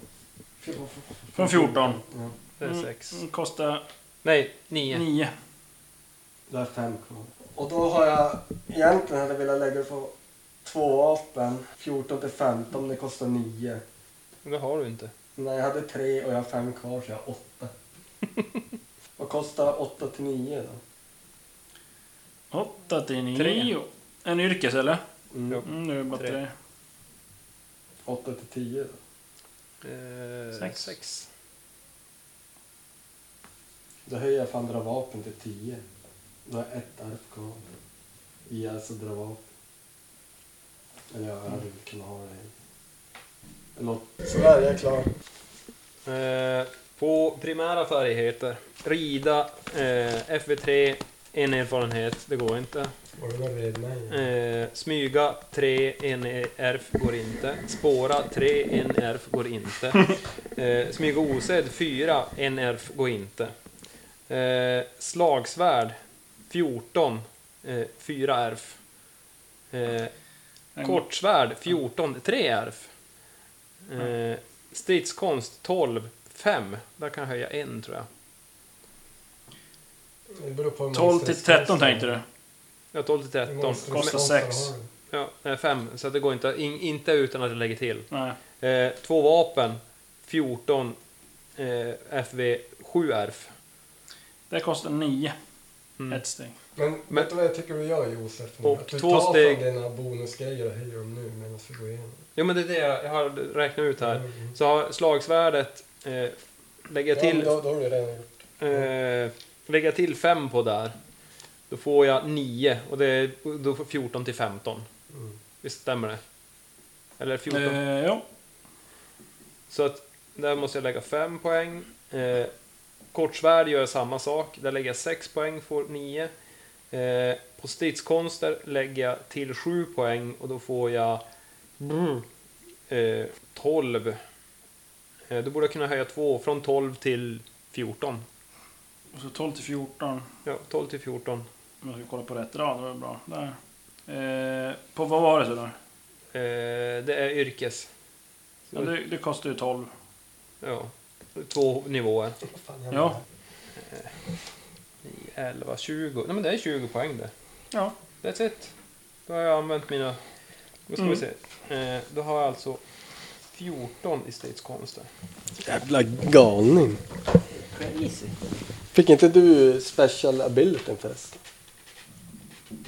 Speaker 2: Från 14.
Speaker 4: Ja,
Speaker 5: Det är 6.
Speaker 2: Mm, Kostar
Speaker 5: eh, Nej,
Speaker 7: Mm.
Speaker 5: 9.
Speaker 2: 9.
Speaker 4: då är fem kvar. Och då har jag egentligen hade jag velat lägga på två vapen. 14 till 15, det kostar 9.
Speaker 5: Det har du inte.
Speaker 4: Nej, jag hade tre och jag har fem kvar så jag har åtta. Vad kostar 8 till 9 då?
Speaker 2: 8 till
Speaker 5: Tre.
Speaker 2: 9. En yrkes eller?
Speaker 4: Mm.
Speaker 2: Mm, nu är det bara
Speaker 5: Tre.
Speaker 2: 3.
Speaker 4: 8 till 10 då?
Speaker 2: Sex.
Speaker 5: 6.
Speaker 4: Då höjer jag fan dra vapen till 10. Då har jag ett arv kvar. I alltså dra vapen. Eller jag hade väl kunnat ha det. Eller Sådär, jag är klar.
Speaker 5: Eh, på primära färdigheter. Rida, eh, FV3, en erfarenhet, det går inte.
Speaker 4: Var det bara red mig?
Speaker 5: Eh, smyga 3, en erf går inte. Spåra 3, en erf går inte. Eh, smyga osedd 4, en erf går inte. Eh, slagsvärd 14, eh, 4 ärf. Eh, kortsvärd 14, 3 ärf. Eh, stridskonst 12, 5. Där kan jag höja en tror jag.
Speaker 14: Det beror på hur många
Speaker 2: 12 till 13
Speaker 14: stridskonster
Speaker 2: tänkte
Speaker 14: du
Speaker 2: du?
Speaker 5: Ja, 12 till
Speaker 14: har. Hur många
Speaker 5: 13.
Speaker 2: kostar
Speaker 14: stridskonster
Speaker 2: sex.
Speaker 14: har du?
Speaker 5: Ja, eh, 5. Så att det går inte, in, inte utan att jag lägger till.
Speaker 2: Nej.
Speaker 5: Eh, två vapen, 14 eh, FV, 7 ärf.
Speaker 2: Det kostar 9.
Speaker 5: Mm.
Speaker 2: Ett steg.
Speaker 14: Men, vet du vad jag tycker vi gör Josef? nu?
Speaker 5: Och
Speaker 14: Att du
Speaker 5: två
Speaker 14: tar från
Speaker 5: steg-
Speaker 14: dina bonusgrejer och höjer dem nu medan vi går igenom.
Speaker 5: Jo men det är det jag jag har räknat ut här.
Speaker 14: Mm.
Speaker 5: Så har slagsvärdet, eh, lägger jag
Speaker 14: Ja, men
Speaker 5: till,
Speaker 14: då, då har du redan gjort.
Speaker 5: eh, lägger jag till 5 på där. Då får jag 9 och det är då får 14 till 15.
Speaker 14: Mm.
Speaker 5: Visst stämmer det? Eller 14?
Speaker 2: Eh, ja.
Speaker 5: Så att där måste jag lägga 5 poäng. Eh, kortsvärd gör jag samma sak. Där lägger jag 6 poäng, får 9. Eh, på stridskonster lägger jag till 7 poäng och då får jag brr, eh, 12. Eh, då borde jag kunna höja 2, från 12 till 14.
Speaker 2: Och så 12 till 14.
Speaker 5: Ja, 12 till 14.
Speaker 2: Om jag ska kolla på rätt rad, det var bra. Där. Eh, på vad var det så då?
Speaker 5: Eh, det är yrkes.
Speaker 2: Ja, det, det kostar ju 12.
Speaker 5: Ja, två nivåer.
Speaker 14: Vad fan är det
Speaker 2: Ja.
Speaker 14: här?
Speaker 5: 11, 20. Nej men det är 20 poäng det.
Speaker 2: Ja.
Speaker 5: That's it. Då har jag använt mina... Då ska vi se. Eh, då har jag alltså 14 i stridskonster.
Speaker 4: Jävla galning.
Speaker 7: Crazy.
Speaker 4: Fick inte du special abilityn förresten?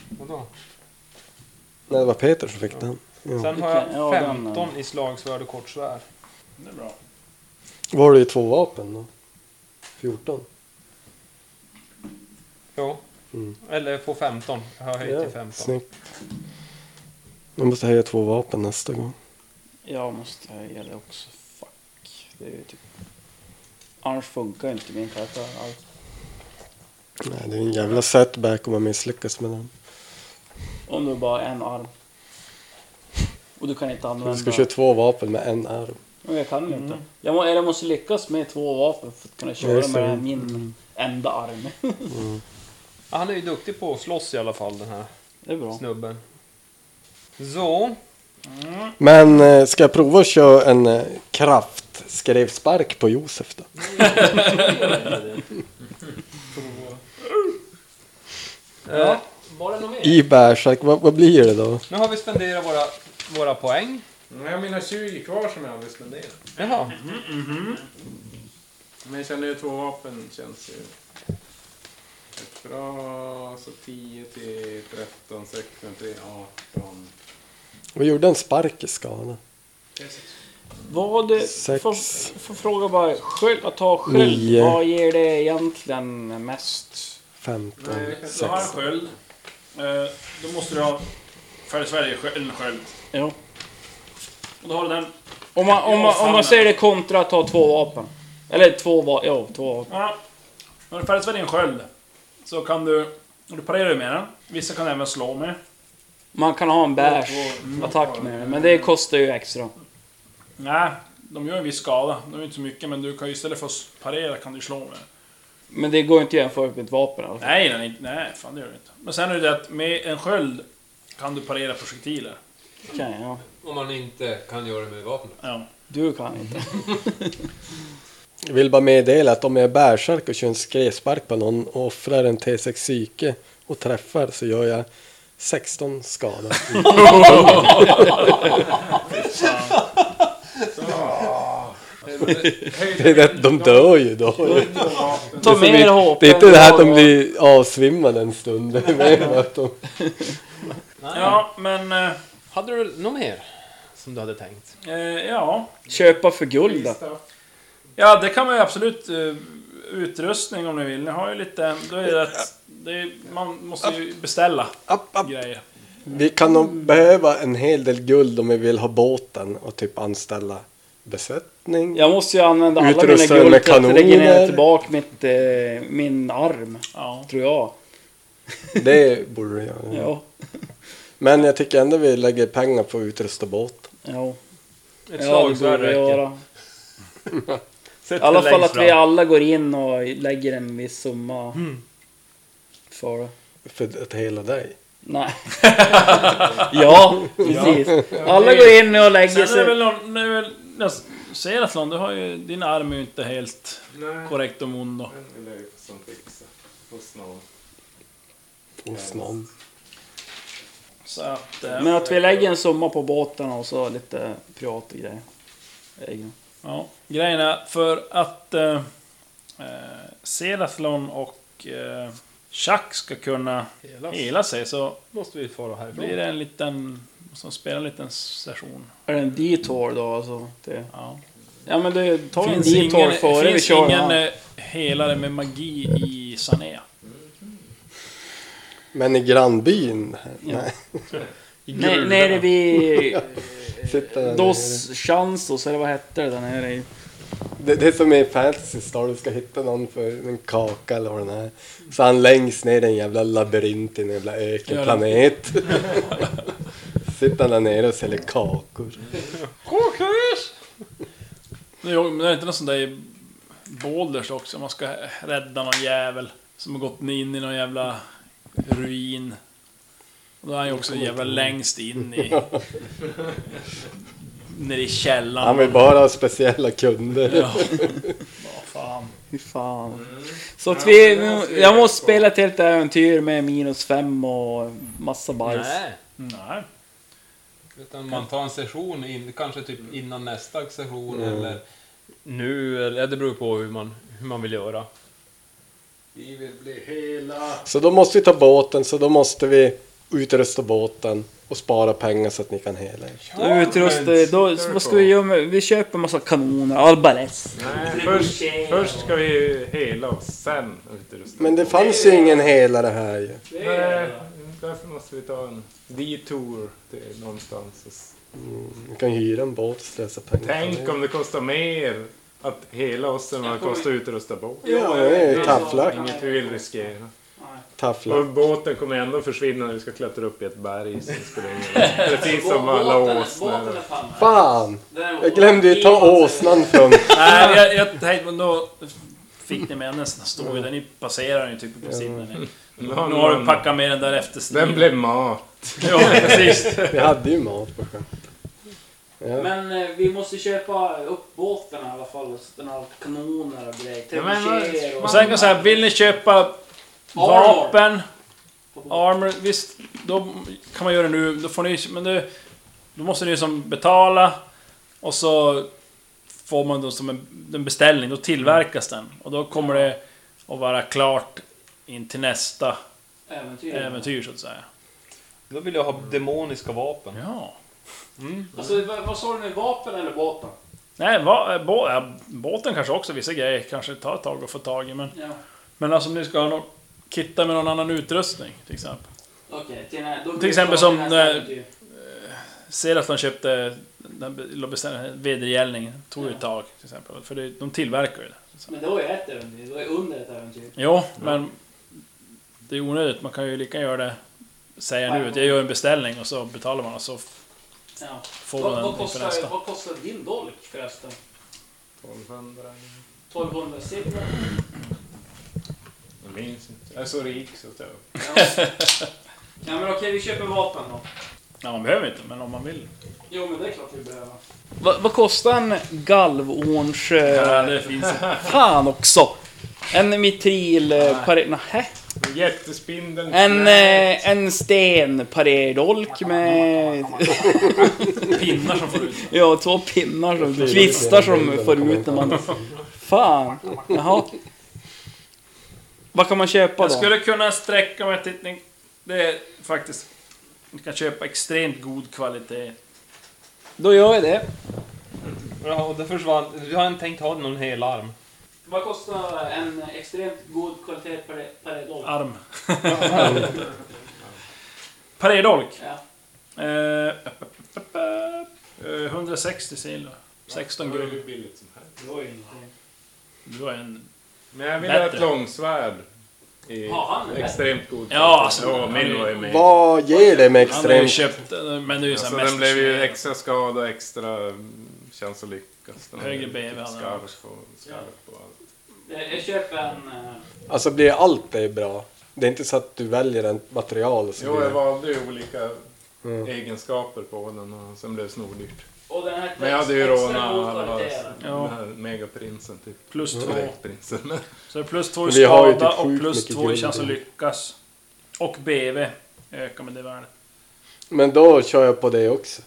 Speaker 5: Vadå?
Speaker 4: Nej, det var Peter som fick den. Ja.
Speaker 5: Sen har jag
Speaker 2: Ja, den,
Speaker 5: 15 i slagsvärd och kortsvärd.
Speaker 2: Det är bra.
Speaker 4: Var det ju två vapen då? 14?
Speaker 5: Jo.
Speaker 4: Mm.
Speaker 5: Eller på 15. Jag har höjt till 15.
Speaker 4: Snyggt. Jag måste höja två vapen nästa gång.
Speaker 7: Jag måste höja det också. Fuck. Det är ju typ... Annars funkar inte min karaktär alls.
Speaker 4: Nej, det är en jävla setback om man misslyckas med den.
Speaker 7: Om du bara har en arm. Och du kan inte använda...
Speaker 4: Vi ska köra två vapen med en arm.
Speaker 7: Men jag kan inte. Jag, må, eller måste lyckas med två vapen för att kunna köra
Speaker 4: Just
Speaker 7: med
Speaker 4: det.
Speaker 7: den här min enda arm.
Speaker 5: Ja, Han är ju duktig på att slåss i alla fall den här
Speaker 7: Det är bra.
Speaker 5: snubben. Så. eh,
Speaker 4: Men eh, ska jag prova att köra en eh, kraftskrevspark på Josef då?
Speaker 5: Eh, var det något mer?
Speaker 4: I bärsärk, vad, vad blir det då?
Speaker 5: Nu har vi spenderat våra, våra poäng.
Speaker 6: Jag har mina 20 kvar som jag aldrig spenderat.
Speaker 5: Jaha.
Speaker 6: Men jag känner ju två vapen känns ju... Ett bra, så 10 till 13, 16 till 18.
Speaker 4: Vad gjorde en spark i skada?
Speaker 7: Vad... eh,
Speaker 4: Sex.
Speaker 7: Får, får fråga bara. Sköld, att ta sköld.
Speaker 4: Nio.
Speaker 7: Vad ger det egentligen mest?
Speaker 4: 15,
Speaker 2: Du har en
Speaker 4: 16.
Speaker 2: sköld. Eh, då måste du ha Färg Sverige skö- en sköld.
Speaker 7: Ja.
Speaker 2: Och då har du den.
Speaker 7: Om man, om man, om man säger det kontra att ta två vapen. Eller två vapen. Ja, två vapen.
Speaker 2: Ja. När du Färg Sverige en sköld så kan du... Du parerar ju med den. Vissa kan även slå med.
Speaker 7: Man kan ha en bärs
Speaker 5: mm.
Speaker 7: attack med den, men det kostar ju extra.
Speaker 2: Nej, de gör en viss skada. De är inte så mycket, men du kan ju istället för att parera kan du slå med den.
Speaker 7: Men det går inte att jämföra med ett vapen alltså. i alla fall.
Speaker 2: Nej, den är inte, nej, fan det gör det inte. Men sen är det det att med en sköld kan du parera projektiler.
Speaker 7: Okej, ja.
Speaker 15: Om man inte kan göra det med vapen.
Speaker 2: Ja.
Speaker 7: Du kan
Speaker 5: Mm.
Speaker 7: inte.
Speaker 4: Jag vill bara meddela att om jag är bärsärk och kör en skrevspark på någon och offrar en T6 psyke och träffar så gör jag 16 skada. Det är det, de dör ju då.
Speaker 7: Ta
Speaker 4: Det är
Speaker 7: mer
Speaker 4: som i-
Speaker 7: HP.
Speaker 4: Det är inte det här att de blir avsvimmade en stund. Det är mer att de...
Speaker 2: Ja, men... eh,
Speaker 5: Hade du något mer som du hade tänkt?
Speaker 2: Eh, ja.
Speaker 7: Köpa för guld då.
Speaker 2: Ja, det kan man ju absolut... eh, utrustning om ni vill. Ni har ju lite... Då är det att... Det är, man måste ju beställa
Speaker 4: App, app.
Speaker 2: grejer.
Speaker 4: Vi kan nog behöva en hel del guld om vi vill ha båten och typ anställa besättning.
Speaker 7: Jag måste ju använda alla
Speaker 4: Utrusta den
Speaker 7: mina guld
Speaker 4: med
Speaker 7: till att regenerera
Speaker 4: kanoner.
Speaker 7: tillbaka mitt, eh, min arm.
Speaker 2: Ja.
Speaker 7: Tror jag.
Speaker 4: Det borde du göra.
Speaker 7: Ja.
Speaker 4: Men jag tycker ändå vi lägger pengar på att utrusta båten.
Speaker 7: Ja,
Speaker 5: Ett
Speaker 7: ja det
Speaker 5: slagsvärd
Speaker 7: borde jag
Speaker 5: räcker.
Speaker 7: göra.
Speaker 5: Sätt
Speaker 7: I alla
Speaker 5: det
Speaker 7: fall
Speaker 5: längst
Speaker 7: att vi
Speaker 5: fram.
Speaker 2: Mm.
Speaker 7: alla går in och lägger en viss summa. För det.
Speaker 4: för att hela dig.
Speaker 3: Nej. ja, precis. Alla går in nu och lägger
Speaker 2: Sen är det väl
Speaker 3: sig.
Speaker 2: någon... Det är väl, jag säger att någon, du har ju... Din arm är ju inte helt
Speaker 6: Nej,
Speaker 2: korrekt och mundo.
Speaker 6: den vill jag ju få som fixa. Hos någon.
Speaker 4: Hos någon.
Speaker 2: Så att... eh,
Speaker 3: Men att vi lägger en summa på båten och så lite privat och grejer. Egen.
Speaker 2: Ja, grejen är för att eh, eh, Sedathlon och eh, Chuck ska kunna
Speaker 5: Hela
Speaker 2: hela sig så
Speaker 5: måste vi fara härifrån.
Speaker 2: blir det en liten... Som spelar en liten session.
Speaker 3: Är det en detour då alltså? Det...
Speaker 2: Ja.
Speaker 3: Ja men det tar en
Speaker 2: Finns
Speaker 3: detour
Speaker 2: ingen,
Speaker 3: före vi
Speaker 2: finns
Speaker 3: kör.
Speaker 2: ingen
Speaker 3: Ingen...
Speaker 2: eh, helare med magi i Sanea.
Speaker 4: Men i grannbyn? Nej.
Speaker 3: Nej, nere vid
Speaker 4: Sitta där nere.
Speaker 3: Dos Chansos eller vad hette det där nere i?
Speaker 4: Det, det är som är fantasy star, du ska hitta någon för en kaka eller vad den är. Så han längst ner i en jävla labyrint i en jävla ökenplanet. Sitter han där nere och säljer kakor.
Speaker 2: Men jo, men det är inte något sånt där i Boulders också? Man ska rädda någon jävel som har gått in i någon jävla ruin. Och då är han ju också jävla längst in i... Nere i källaren.
Speaker 4: Han vill bara ha speciella kunder.
Speaker 2: Ja. Vad fan.
Speaker 3: Fy fan.
Speaker 7: Mm.
Speaker 3: Så att vi, jag måste spela ett helt äventyr med minus fem och massa bajs.
Speaker 5: Nej.
Speaker 2: Nej.
Speaker 15: Utan man tar en session, in, kanske typ innan nästa session
Speaker 6: Mm.
Speaker 15: eller...
Speaker 5: Nu, eller ja, det beror på hur man, hur man vill göra.
Speaker 6: Vi vill bli hela.
Speaker 4: Så då måste vi ta båten, så då måste vi utrusta båten och spara pengar så att ni kan hela er.
Speaker 3: Då utrustar vi, då, vad ska vi göra med, vi köper en massa kanoner, albalest.
Speaker 6: Nej, först, först ska vi hela och sen utrusta.
Speaker 4: Men det fanns ju ingen helare här ju.
Speaker 6: Nej, därför måste vi ta en detour till någonstans. och s-
Speaker 4: Ni kan hyra en båt och stressa pengar.
Speaker 6: Tänk om det kostar mer att hela oss än vad det kostar att utrusta båten.
Speaker 4: Ja, det är ju tafflack.
Speaker 6: Inget vi vill riskera.
Speaker 4: Tafflack.
Speaker 6: Och båten kommer ändå försvinna när vi ska klättra upp i ett berg. Så det spelar ingen roll. Precis som alla åsnor.
Speaker 4: Fan! Jag glömde ju ta åsnan från...
Speaker 2: Nej, jag, jag tänkte, men då fick ni med nästan stod den. Ni passerar den ju typ på sidan.
Speaker 6: Nu
Speaker 2: Nu har du packat med den där efter
Speaker 6: Den blev mat.
Speaker 2: Ja, precis.
Speaker 4: Vi hade ju mat på sjön. Ja.
Speaker 7: Men eh, vi måste köpa upp båten i alla fall. och sätta några kanoner och grejer.
Speaker 6: Ja, men vad-
Speaker 7: trebucheter
Speaker 2: Och sen kan jag säga, vill ni köpa vapen, armor, visst, då kan man göra det nu. Då får ni, men nu, då måste ni ju som betala och så får man då som en, en beställning, då tillverkas den. Och då kommer det att vara klart in till nästa
Speaker 7: äventyr.
Speaker 2: äventyr så att säga.
Speaker 5: Då vill jag ha demoniska vapen.
Speaker 2: Ja.
Speaker 7: Alltså, vad, vad sa du nu? Vapen eller båten?
Speaker 2: Nej, va, eh, bå, ja, båten kanske också, vissa grejer kanske tar ett tag att få tag i. Men,
Speaker 7: Ja.
Speaker 2: men alltså om ni ska ha någon, kitta med någon annan utrustning till exempel.
Speaker 7: Okej, till, nä- då-
Speaker 2: Till exempel som,
Speaker 7: till nästa
Speaker 2: eh,
Speaker 7: äventyr.
Speaker 2: Ser att de köpte den be- beställningen, vedergällning, tog ju ett tag till exempel. För det, de tillverkar ju det.
Speaker 7: Men då är det ett äventyr. Då är det under ett äventyr.
Speaker 2: Jo, men det är onödigt. Man kan ju lika gärna göra det, säga nu att jag gör en beställning och så betalar man och så f-
Speaker 7: Ja.
Speaker 2: får man
Speaker 7: Vad, vad,
Speaker 2: den inför
Speaker 7: kostar,
Speaker 2: nästa.
Speaker 7: vad kostar din dolk förresten? 1200 silver?
Speaker 6: Jag minns inte. Jag är så rik så att jag...
Speaker 7: Ja. ja men okej, vi köper vapen då.
Speaker 2: Ja, man behöver inte, men om man vill.
Speaker 7: Jo men det är klart vi behöver.
Speaker 3: Vad, vad kostar en galvorns...
Speaker 2: Ja,
Speaker 3: Eh,
Speaker 2: det finns
Speaker 3: fan också! En mitril... Eh, pare, nähä.
Speaker 6: Jättespindeln.
Speaker 3: En, eh, en stenparerdolk med...
Speaker 2: pinnar som får ut.
Speaker 3: ja, två pinnar som... Kvistar som får ut när man... Fan! Jaha. Vad kan man köpa
Speaker 2: Jag
Speaker 3: då?
Speaker 2: skulle kunna sträcka mig till... ni- Det är faktiskt... Ni kan köpa extremt god kvalitet.
Speaker 3: Då gör jag det.
Speaker 5: Ja, och det försvann. Du har inte tänkt ha någon hel arm.
Speaker 7: Vad kostar en extremt god kvalitet per, per dolk?
Speaker 2: Arm. Paredolk.
Speaker 7: Ja.
Speaker 2: Eh, upp, upp, upp, upp. Eh, 160 kilo. 16
Speaker 6: Det är
Speaker 2: guld.
Speaker 6: hur billigt som helst.
Speaker 7: Det var ju ingenting.
Speaker 2: Du har en...
Speaker 6: Men jag vill
Speaker 2: Bättre.
Speaker 6: ha ett långsvärd. I
Speaker 7: Har han det?
Speaker 6: extremt god
Speaker 2: Ja, alltså,
Speaker 6: ja, min var ju med.
Speaker 4: Vad ger det med
Speaker 2: Han har ju
Speaker 4: extremt?
Speaker 2: köpt... eh, Men det är ju
Speaker 6: Alltså,
Speaker 2: sån
Speaker 6: den blev ju
Speaker 2: mästerskap.
Speaker 6: extra skada och extra mm, chans att lyckas. Den
Speaker 2: Högre
Speaker 6: blev
Speaker 2: BV
Speaker 6: typ
Speaker 2: hade
Speaker 6: Skarp och skarp och allt.
Speaker 7: Jag jag köper en... eh,
Speaker 4: Alltså blir allt det bra? Det är inte så att du väljer ett material och så
Speaker 6: Jo,
Speaker 4: blir
Speaker 6: jag
Speaker 4: det-
Speaker 6: valde ju olika
Speaker 4: Mm.
Speaker 6: egenskaper på den och sen blev det snordyrt.
Speaker 7: Och den här
Speaker 6: Men jag hade ju
Speaker 7: extra
Speaker 6: rånat
Speaker 7: hårt
Speaker 6: alla
Speaker 7: orienterad.
Speaker 6: den här megaprinsen typ.
Speaker 2: Plus två.
Speaker 6: Dräktprinsen.
Speaker 2: Så det är plus två i
Speaker 4: Mm. Vi har ju
Speaker 2: skada
Speaker 4: typ
Speaker 2: och
Speaker 4: sjukt
Speaker 2: plus
Speaker 4: mycket
Speaker 2: två i
Speaker 4: grund.
Speaker 2: chans att lyckas. Och BV ökar med det värdet.
Speaker 4: Men då kör jag på det också.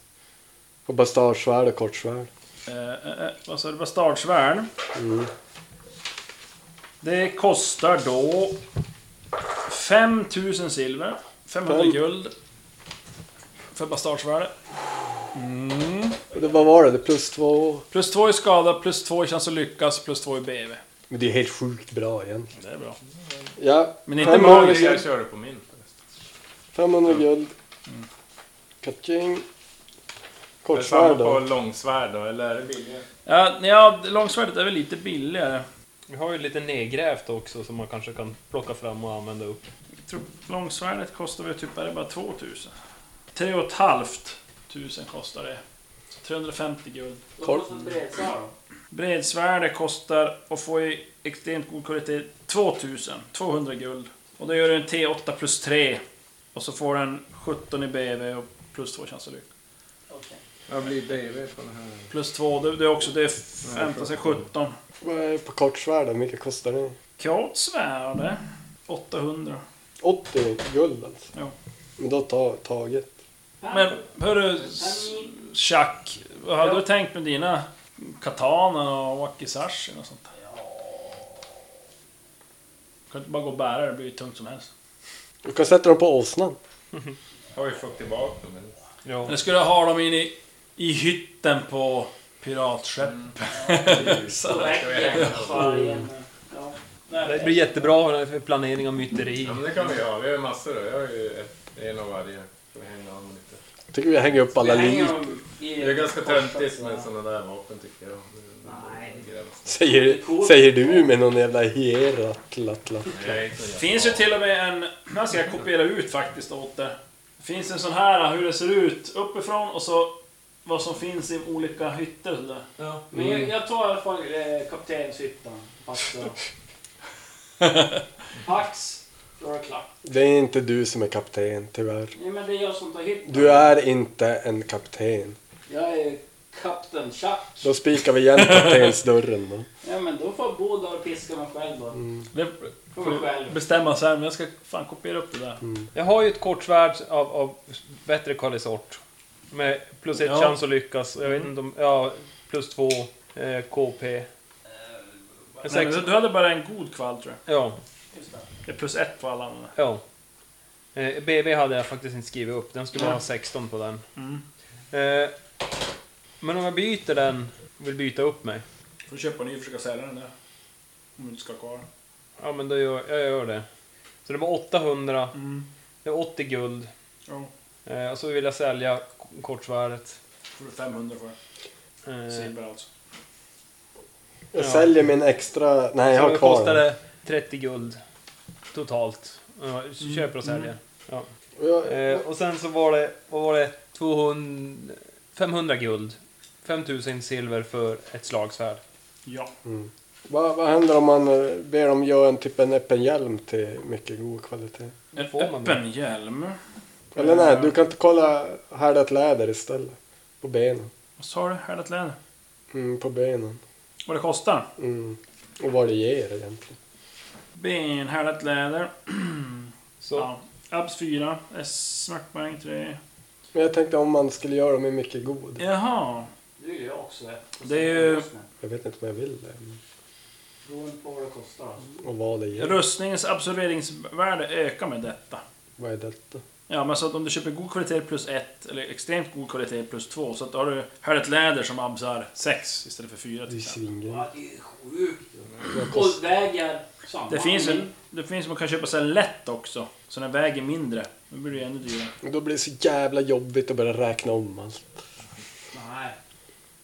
Speaker 4: På bastarsvärd och kortsvärd.
Speaker 2: Eh, eh, eh, vad sa du? Bastardsvärn. Mm. Det kostar då 5000 silver, 500
Speaker 4: Tolv.
Speaker 2: guld för bastardsvärde.
Speaker 4: Och det, vad var det? det? är Plus två?
Speaker 2: Plus två i skada, plus två i chans att lyckas, plus två i BV.
Speaker 4: Men det är helt sjukt bra egentligen.
Speaker 2: Det är bra.
Speaker 4: Ja,
Speaker 2: Men inte
Speaker 6: Ja,
Speaker 2: magiskt.
Speaker 6: Jag körde på min förresten.
Speaker 4: 500 guld. Katching.
Speaker 6: Det är Mm. samma
Speaker 4: Kortsvärd
Speaker 6: på
Speaker 4: då.
Speaker 6: långsvärd då, eller är det billigare?
Speaker 2: Ja, ja, långsvärdet är väl lite billigare.
Speaker 5: Vi har ju lite nedgrävt också som man kanske kan plocka fram och använda upp.
Speaker 2: Jag tror långsvärdet kostar väl typ, är det bara 2000? 3 halvt tusen kostar det. 350 guld.
Speaker 7: Kort. Bredsvar
Speaker 2: Bredsvärde kostar och får i extremt god kvalitet 2000, 200 guld. Och då gör du en T8 plus 3. Och så får den 17 i BV och plus 2 chans att lyckas.
Speaker 7: då. Okej.
Speaker 6: Vad blir BV på den här?
Speaker 2: Plus 2, det, det är också det är 15, så 17.
Speaker 4: Vad är det På kortsvärd då? Mycket kostar det?
Speaker 2: Kroatsvärde, 800.
Speaker 4: 80 guld alltså.
Speaker 2: Ja.
Speaker 4: Men då tar taget.
Speaker 2: Men hörru, s- Chuck, vad hade du tänkt med dina katana och wakizashi och sånt? Ja. Kan inte bara gå och bära det, det blir ju tungt som helst.
Speaker 4: Du kan sätta dem på åsnan.
Speaker 6: Har vi fått tillbaka dem eller?
Speaker 2: Eller skulle jag ha dem in i, i hytten på piratskepp?
Speaker 7: Så räcker Bara igen. Ja.
Speaker 5: Det blir jättebra för planering av myteri.
Speaker 6: Ja men det kan vi ha, vi har ju massor då. Jag har ju ett, en av varje. Får hänga av med lite.
Speaker 4: Jag tycker vi hänger upp alla
Speaker 7: Vi hänger
Speaker 4: lik.
Speaker 7: dem i-
Speaker 6: Det är ganska töntigt med sådana där vapen tycker jag.
Speaker 7: Nej.
Speaker 4: Säger, säger du med någon jävla hieratlatla.
Speaker 6: Nej,
Speaker 2: finns ju till och med en... Den ska jag kopiera ut faktiskt åt det. Det finns en sån här, hur det ser ut uppifrån och så vad som finns i olika hytter och sådär.
Speaker 7: Ja. Men jag, jag tar i alla fall eh, kaptenshyttan. Pax då. Pax, då är det klart.
Speaker 4: Det är inte du som är kapten tyvärr.
Speaker 7: Nej men det är jag som tar hyttan.
Speaker 4: Du är inte en kapten.
Speaker 7: Jag är kapten Chuck.
Speaker 4: Då spikar vi igen kaptensdörren då.
Speaker 7: Ja men då får jag bo där och piska mig själv då.
Speaker 2: Det
Speaker 7: För mig själv.
Speaker 2: bestämma sen, men jag ska fan kopiera upp det där.
Speaker 5: Jag har ju ett kortsvärd av, av bättre kvalisort. Med plus ett
Speaker 2: Ja. Mm.
Speaker 5: chans att lyckas. Jag vet inte om... Ja, plus två eh, KP. En
Speaker 2: Nej, men
Speaker 5: sex,
Speaker 2: du, du hade bara en god kvall tror jag.
Speaker 5: ja,
Speaker 7: Just det.
Speaker 2: Det är plus ett på alla andra.
Speaker 5: ja. Eh, BB hade jag faktiskt inte skrivit upp. Den skulle
Speaker 2: Nej.
Speaker 5: ha 16 på den.
Speaker 2: Mm.
Speaker 5: Eh, men om jag byter den, vill byta upp mig.
Speaker 2: Får du köpa en ny och försöka sälja den där. Om du inte ska ha kvar
Speaker 5: Ja men då gör jag gör det. Så det var 800,
Speaker 2: mm.
Speaker 5: det var 80 guld.
Speaker 2: Ja,
Speaker 5: Eh, och så vill jag sälja k- kortsvärdet.
Speaker 2: får du 500 för det.
Speaker 5: Eh,
Speaker 2: Silver alltså.
Speaker 4: Jag
Speaker 5: Ja.
Speaker 4: säljer min extra... Nej, jag
Speaker 5: så
Speaker 4: har
Speaker 5: det
Speaker 4: kvar den.
Speaker 5: kostade 30 guld totalt. Eh, Köper och säljer.
Speaker 4: Och jag-
Speaker 5: Eh, och sen så var det, vad var det, 200, 500 guld. 5000 silver för ett slagsvärd.
Speaker 2: Ja.
Speaker 5: Mm.
Speaker 4: Vad, vad händer om man eh, ber dem göra en typ en öppen hjälm till mycket god kvalitet?
Speaker 2: En
Speaker 5: Får man det?
Speaker 2: öppen hjälm.
Speaker 4: Eller nej, du kan inte kolla härdat läder istället. På benen.
Speaker 2: Vad sa du? Härdat läder?
Speaker 4: Mm, på benen.
Speaker 2: Vad det kostar?
Speaker 4: Mm. Och vad det ger egentligen.
Speaker 2: Ben, härdat läder.
Speaker 5: Så,
Speaker 2: Ja. Abs 4, S smärtpoäng 3.
Speaker 4: Men jag tänkte om man skulle göra dem i mycket god.
Speaker 2: Jaha.
Speaker 7: Du gör jag också det.
Speaker 2: Det är ju-
Speaker 4: Jag vet inte om jag vill det. men-
Speaker 7: Beroende på vad det kostar alltså.
Speaker 4: Och vad det ger.
Speaker 2: Rustningens absorberingsvärde ökar med detta.
Speaker 4: Vad är detta?
Speaker 2: Ja, men så att om du köper god kvalitet plus 1, eller extremt god kvalitet plus 2, så att då har du härdat läder som absar 6 istället för 4
Speaker 4: Det är
Speaker 2: till
Speaker 4: ju
Speaker 2: exempel.
Speaker 4: svingen.
Speaker 7: Ja, det är sjukt.
Speaker 4: Vad kostar-
Speaker 7: Och väger samma.
Speaker 2: Det finns ju, det finns man kan köpa så här lätt också, så den väger mindre. Då blir det ännu dyrare.
Speaker 4: Då blir det så jävla jobbigt att börja räkna om alltså. allt.
Speaker 7: Nej.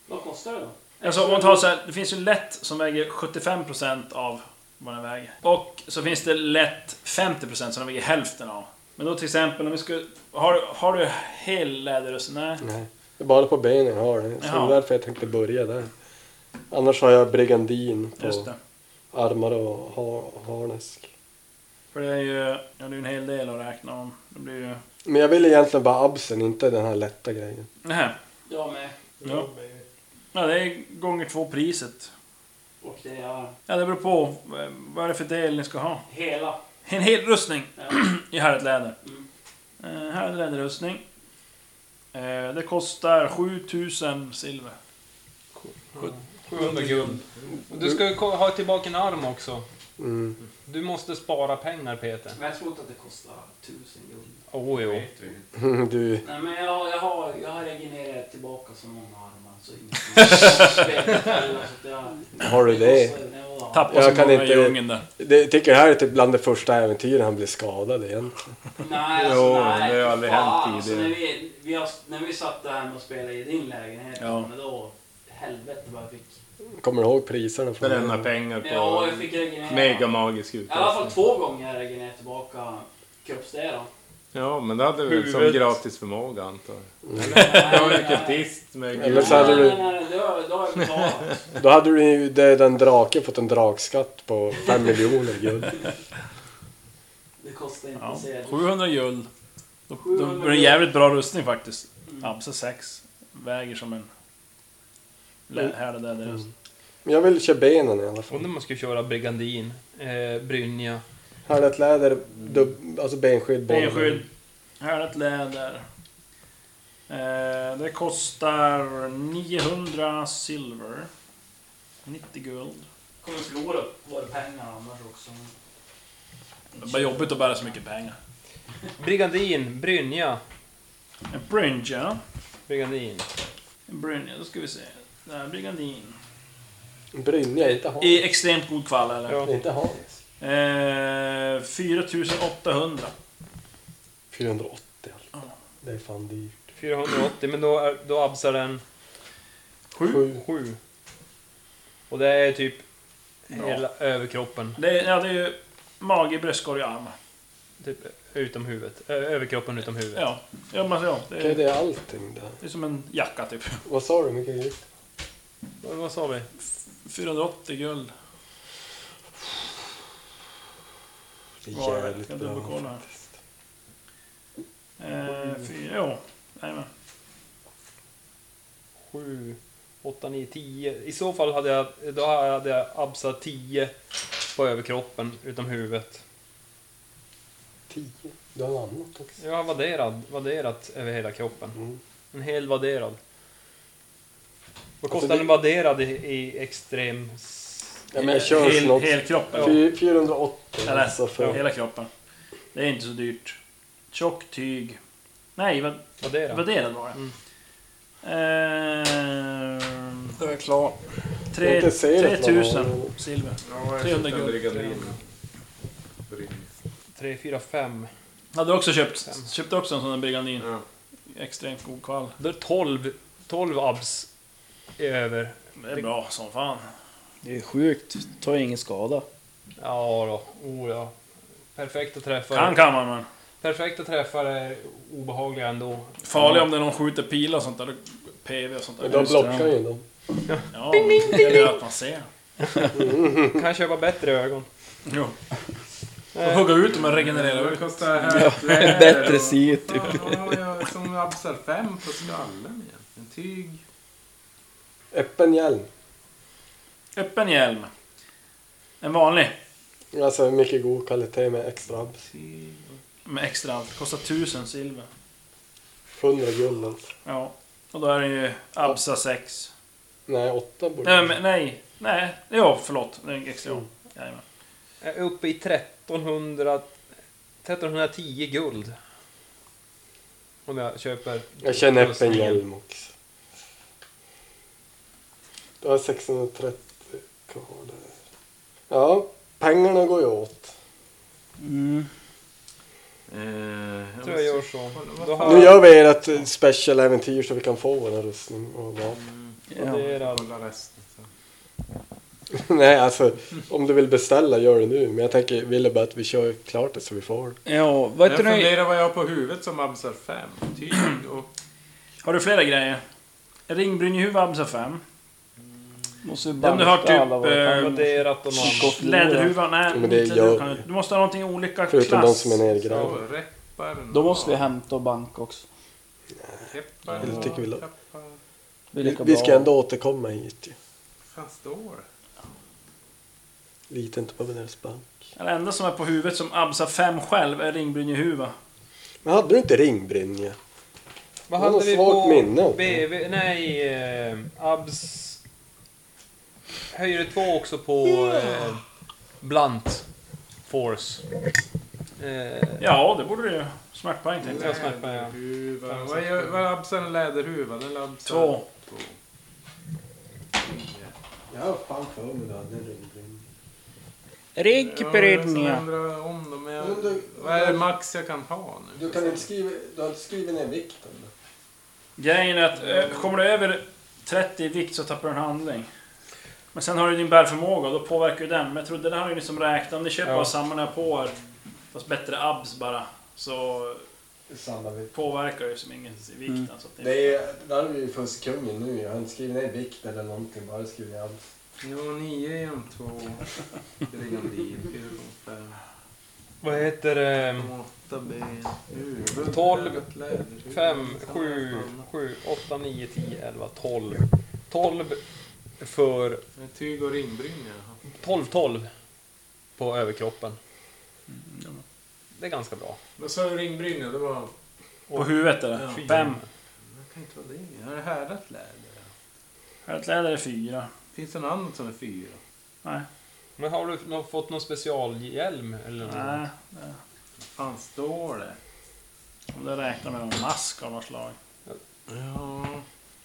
Speaker 7: Vad kostar det då?
Speaker 2: Alltså om man tar så här, det finns ju lätt som väger 75% av vad den väger. Och så finns det lätt 50% som den väger hälften av. Men då till exempel om vi skulle... Har, du- har du hel läderrustning? Nej.
Speaker 4: Nej, det är bara på benen jag har det. Så det
Speaker 2: Jaha.
Speaker 4: är därför jag tänkte börja där. Annars har jag brigandin
Speaker 2: Just
Speaker 4: på
Speaker 2: det.
Speaker 4: armar och har- harnesk.
Speaker 2: För det är ju, ja, det är ju en hel del att räkna om. Det blir ju...
Speaker 4: Men jag vill egentligen bara absen, inte den här lätta grejen.
Speaker 2: Nähä.
Speaker 7: Jag med.
Speaker 2: Ja. ja, det är gånger två priset.
Speaker 7: Och det är
Speaker 2: Ja, det beror på. eh, Vad är det för del ni ska ha?
Speaker 7: hela.
Speaker 2: En hel rustning
Speaker 7: Ja.
Speaker 2: i härligt läder.
Speaker 7: Mm.
Speaker 2: Eh, härligt läderrustning. Eh, det kostar 7000 silver.
Speaker 5: 700 guld. Du ska ju ko- ha tillbaka en arm också.
Speaker 4: Mm.
Speaker 5: Du måste spara pengar Peter.
Speaker 7: Men jag tror inte att det kostar tusen guld.
Speaker 5: Åh jo.
Speaker 4: Du,
Speaker 7: Nej men jag, jag har, jag har regenererat tillbaka så många armar så inget spelar heller, så att jag-
Speaker 4: har du det?
Speaker 7: kostar- ja.
Speaker 2: Tappar
Speaker 4: Jag
Speaker 2: så
Speaker 4: kan
Speaker 2: många i
Speaker 4: inte-
Speaker 2: djungeln där.
Speaker 4: det jag tycker det här är typ bland de första äventyren han blir skadad igen.
Speaker 7: Nej, alltså,
Speaker 6: Jo,
Speaker 7: nej,
Speaker 6: det har
Speaker 7: för
Speaker 6: aldrig
Speaker 7: fan,
Speaker 6: hänt
Speaker 7: alltså,
Speaker 6: tidigare.
Speaker 7: när, vi, vi har, när vi satt där hemma och spelade i din lägenhet,
Speaker 2: Ja.
Speaker 7: men då... Helvete vad jag fick.
Speaker 4: Kommer du ihåg priserna? från-
Speaker 6: Bränna pengar på
Speaker 7: Ja, alltså- jag fick regenerera.
Speaker 6: mega magisk
Speaker 7: I alla fall
Speaker 6: utrustning.
Speaker 7: två gånger har jag regenererat tillbaka kroppsdelar.
Speaker 6: Ja, men det hade vi väl som
Speaker 5: Huvudet.
Speaker 6: gratis förmåga antar jag.
Speaker 7: Nej,
Speaker 6: Jag var ju
Speaker 7: nej,
Speaker 6: kultist med
Speaker 4: Eller
Speaker 6: gud.
Speaker 4: så hade
Speaker 7: nej,
Speaker 4: du,
Speaker 7: nej, nej, det har- det har jag betalat.
Speaker 4: då hade du ju det, den draken fått en drakskatt på fem miljoner guld.
Speaker 7: Det kostar inte
Speaker 2: Ja.
Speaker 7: sedel.
Speaker 2: 700 guld. Då, då
Speaker 7: 700
Speaker 2: blir det en
Speaker 7: guld.
Speaker 2: jävligt bra rustning faktiskt.
Speaker 7: Mm.
Speaker 2: Abse 6. Väger som en lä-
Speaker 7: Mm.
Speaker 2: härlig läderrustning.
Speaker 4: Men jag vill köra benen i alla fall.
Speaker 5: Undrar om man skulle köra Brigandin, eh, Brynja.
Speaker 4: Härligt läder, dubb, alltså benskydd. boll.
Speaker 2: Benskydd. Härligt läder. Eh, det kostar 900 silver. 90 guld.
Speaker 7: Kommer förlora våra pengar annars också.
Speaker 2: Det är bara jobbigt att bära så mycket pengar.
Speaker 5: Brigandin, Brynja.
Speaker 2: En Brynja.
Speaker 5: Brigandin.
Speaker 2: En Brynja, då ska vi se. Där, Brigandin.
Speaker 4: Brynja, inte Hans.
Speaker 2: I extremt god kvall eller?
Speaker 5: Ja.
Speaker 4: Inte Hans.
Speaker 2: Eh, 4800.
Speaker 4: 480 alltså. Det är fan dyrt.
Speaker 5: 480, men då, är, då absar den
Speaker 4: Sju.
Speaker 5: 7. Och det är typ hela överkroppen.
Speaker 2: Det, är- ja, det är ju mage, bröstkorg och arm.
Speaker 5: Typ utom huvudet. Ö- överkroppen utom huvudet.
Speaker 2: Ja, ja, men, ja det,
Speaker 4: Okej,
Speaker 2: är,
Speaker 4: det är allting där.
Speaker 2: det är som en jacka typ.
Speaker 4: Vad sa du? Mycket guld?
Speaker 5: Vad, vad sa vi?
Speaker 2: 480 guld.
Speaker 4: Det
Speaker 2: var
Speaker 4: är
Speaker 2: det.
Speaker 4: jävligt
Speaker 2: Jag
Speaker 4: bra.
Speaker 2: dubbelkollar här. Eh, fyra, jo. Jajamän.
Speaker 5: 7, 8, 9, 10. I så fall hade jag, då hade jag absat 10 på överkroppen utom huvudet.
Speaker 4: Tio. Du har något annat också.
Speaker 5: Jag har vadderad, vadderat över hela kroppen.
Speaker 4: Mm.
Speaker 5: En hel vadderad. Vad
Speaker 4: Alltså
Speaker 5: kostar
Speaker 4: det-
Speaker 5: en vadderad i, i extrem... s-
Speaker 4: Ja, men jag kör
Speaker 2: hel,
Speaker 4: snart.
Speaker 2: hel kroppen.
Speaker 4: Fy- 480
Speaker 2: Eller,
Speaker 4: alltså för...
Speaker 2: Hela kroppen. Det är inte så dyrt. Tjock tyg. Nej, vad,
Speaker 5: Vadderad?
Speaker 2: vad det det var det.
Speaker 5: Mm.
Speaker 2: Ehm,
Speaker 4: Jag är klar. Jag har
Speaker 2: tre-
Speaker 4: inte sett det på
Speaker 2: 3000
Speaker 4: någon.
Speaker 2: silver.
Speaker 6: Ja,
Speaker 2: 300 guld.
Speaker 6: guld.
Speaker 5: 3, 4, 5.
Speaker 2: Hade du också köpt, köpte också en sån där brigandin?
Speaker 6: Ja.
Speaker 2: Extremt god kvall.
Speaker 5: Då är det 12, 12 abs i över.
Speaker 2: Det är bra som fan.
Speaker 16: Det är sjukt. Tar ju ingen skada.
Speaker 5: Ja då, oh ja. Perfekta träffar.
Speaker 2: Kan kan man men.
Speaker 5: Perfekta träffar är obehagliga ändå.
Speaker 2: Farlig om det är någon skjuter pilar och sånt där. PV och sånt där.
Speaker 4: Men de blockar ju dem.
Speaker 2: Ja, men det är det att man ser.
Speaker 5: Kan jag köpa bättre ögon?
Speaker 2: Jo. Och hugga ut dem och regenerera
Speaker 6: Det
Speaker 2: ut.
Speaker 6: kostar här
Speaker 16: Bättre sy typ.
Speaker 6: Ja, jag som absar fem på skallen igen. En tyg.
Speaker 4: Öppen hjälm.
Speaker 2: Öppen hjälm. En vanlig.
Speaker 4: Alltså mycket god kvalitet med extra abs.
Speaker 6: tyg.
Speaker 2: Med extra allt. Kostar 1000 silver.
Speaker 4: 100 guld alltså.
Speaker 2: Ja. Och då är det ju Absa 6.
Speaker 4: Nej, 8 borde
Speaker 2: Nej, men, nej. Nej. Jo, förlåt. Det är
Speaker 4: Mm.
Speaker 2: extra. Jajamän.
Speaker 5: Jag är uppe i 1300, 1310 guld. Om jag köper...
Speaker 4: Jag känner öppen
Speaker 5: utrustningen.
Speaker 4: hjälm också. Du har 630 kvar där. Ja, pengarna går ju åt.
Speaker 6: Eh,
Speaker 5: Jag tror jag gör så. Då har
Speaker 4: Nu
Speaker 5: jag
Speaker 4: gör vi ert specialäventyr så vi kan få vår rustning och
Speaker 2: Mm.
Speaker 4: vapen.
Speaker 5: vadderad.
Speaker 6: Kolla resten. sen.
Speaker 4: Nej, alltså om du vill beställa gör det nu. Men jag tänker, ville bara att vi kör klart det så vi får.
Speaker 16: Ja, vad
Speaker 6: Jag
Speaker 16: heter det?
Speaker 6: funderar vad jag har på huvudet som absar fem. Tyg och...
Speaker 2: Har du flera grejer? Ringbrynjehuvud Absa 5.
Speaker 7: Måste vi
Speaker 2: Ja, men du har
Speaker 7: banta alla
Speaker 2: typ...
Speaker 7: våra
Speaker 2: eh,
Speaker 7: tandläkare.
Speaker 5: Raderat och någon...
Speaker 7: Gick och förlora.
Speaker 2: Läderhuva, nej.
Speaker 4: Ja, men det
Speaker 2: inte
Speaker 4: gör-
Speaker 2: du, kan- du måste ha någonting i olika
Speaker 4: Förutom de
Speaker 2: klass.
Speaker 4: som är nedgrävda.
Speaker 6: Reppar,
Speaker 7: Då måste vi hämta och banka också.
Speaker 6: Heppar,
Speaker 4: Det tycker vi låter-
Speaker 6: tappar.
Speaker 7: Det
Speaker 4: Vi,
Speaker 7: är lika
Speaker 4: vi
Speaker 7: bra.
Speaker 4: ska ändå återkomma hit ju.
Speaker 6: Fan står
Speaker 4: Lita inte på deras bank.
Speaker 2: Det enda som är på huvudet som Absa 5 själv är ringbrynjehuva.
Speaker 4: Men hade du inte ringbrynja?
Speaker 5: Vad
Speaker 4: Hon har
Speaker 5: hade vi
Speaker 4: svagt
Speaker 5: på
Speaker 4: minne också.
Speaker 5: BV? Nej, eh, Abs... Höjde två också på eh, Blunt Force. Eh,
Speaker 2: Ja, det borde du ju. Smärtpoäng tänkte jag.
Speaker 5: jag smärtpar, ja.
Speaker 6: Läderhuva. Vad gör- vad labsar en läderhuva? Den labsar...
Speaker 2: Två.
Speaker 17: Jag har fan för mig du hade en ringbrynja.
Speaker 6: Jag
Speaker 7: Riggbrynja.
Speaker 6: undrar om dem. men Jag,
Speaker 17: Men du-
Speaker 6: vad är det max jag kan ha nu?
Speaker 17: Du kan inte skriva... Du har inte skrivit ner vikten?
Speaker 2: Grejen är att eh, kommer du över 30 i vikt så tappar du en handling. Men sen har du din bärförmåga och då påverkar ju den. Men jag trodde det här är ju liksom räknat. Om ni köper bara samma när jag på er, fast bättre abs bara, så
Speaker 17: Samma vikt.
Speaker 2: påverkar det ju som inget i vikten. Så att det...
Speaker 17: Det är... Där är vi ju fuskkungen nu. Jag har inte skrivit ner vikt eller någonting. Bara skrivit ner allt.
Speaker 6: Jo, nio igen två. Brandil, fyra gånger fem.
Speaker 5: vad heter eh, det?
Speaker 6: Åtta ben. Huvud.
Speaker 5: Tolv,
Speaker 6: ögat, läderhuva.
Speaker 5: Fem, sju, sju, åtta, nio, tio, elva, tolv. Tolv för...
Speaker 6: Tyg och ringbrynja. jaha.
Speaker 5: Tolv, tolv på överkroppen. Det är ganska bra.
Speaker 6: Vad sa du ringbrynja? Det var...
Speaker 2: På huvudet är det. 5.
Speaker 5: Fyra.
Speaker 6: Det kan inte vara det. Är det härdat läder?
Speaker 2: Stjärtläder är 4.
Speaker 6: Finns det något annat som är fyra?
Speaker 2: Nej.
Speaker 5: Men har du nå- fått någon specialhjälm eller något?
Speaker 2: Nej.
Speaker 6: Fan står det?
Speaker 2: Om du räknar med någon mask av något slag.
Speaker 6: Ja...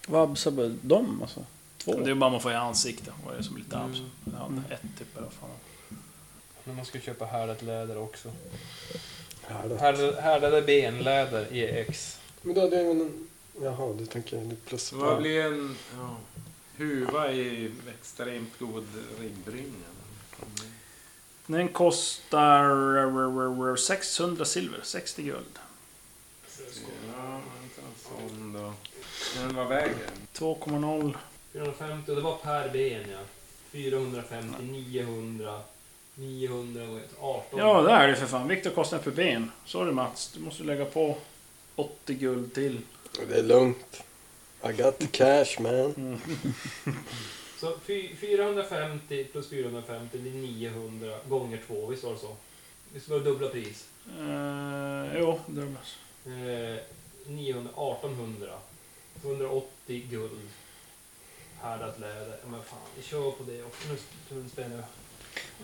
Speaker 7: Vad absar bara dem alltså?
Speaker 2: Det är ju bara man får i ansiktet. Vad är det som blir lite abs? Ja, ett typ eller vad fan.
Speaker 5: Men man ska köpa härdat läder också.
Speaker 4: Härdat.
Speaker 5: Här- Härdade benläder EX.
Speaker 4: Men då hade jag även en... Jaha, du tänker du plus
Speaker 6: Så vad blir en ja, huva i extremt god ringbrynja?
Speaker 2: Den kostar 600 silver, 60 guld.
Speaker 6: Ja, inte en sån då. Men vad väger den?
Speaker 2: 2,0.
Speaker 5: 450, och det var per ben ja. 450, 900, 900 och ett 18.
Speaker 2: Ja, det är det för fan. Viktorkostnad per ben. Sorry Mats, du måste lägga på 80 guld till.
Speaker 4: Det är lugnt. I got the cash man.
Speaker 5: Så fy- 450 plus 450, det är 900 gånger 2, visst var det så? Visst var det dubbla pris?
Speaker 2: Uh, jo, Douglas.
Speaker 5: Eh, 900, 1800. 180 guld. Härdat läder. Ja, men fan, vi kör på det också. Nu tror jag spänner jag.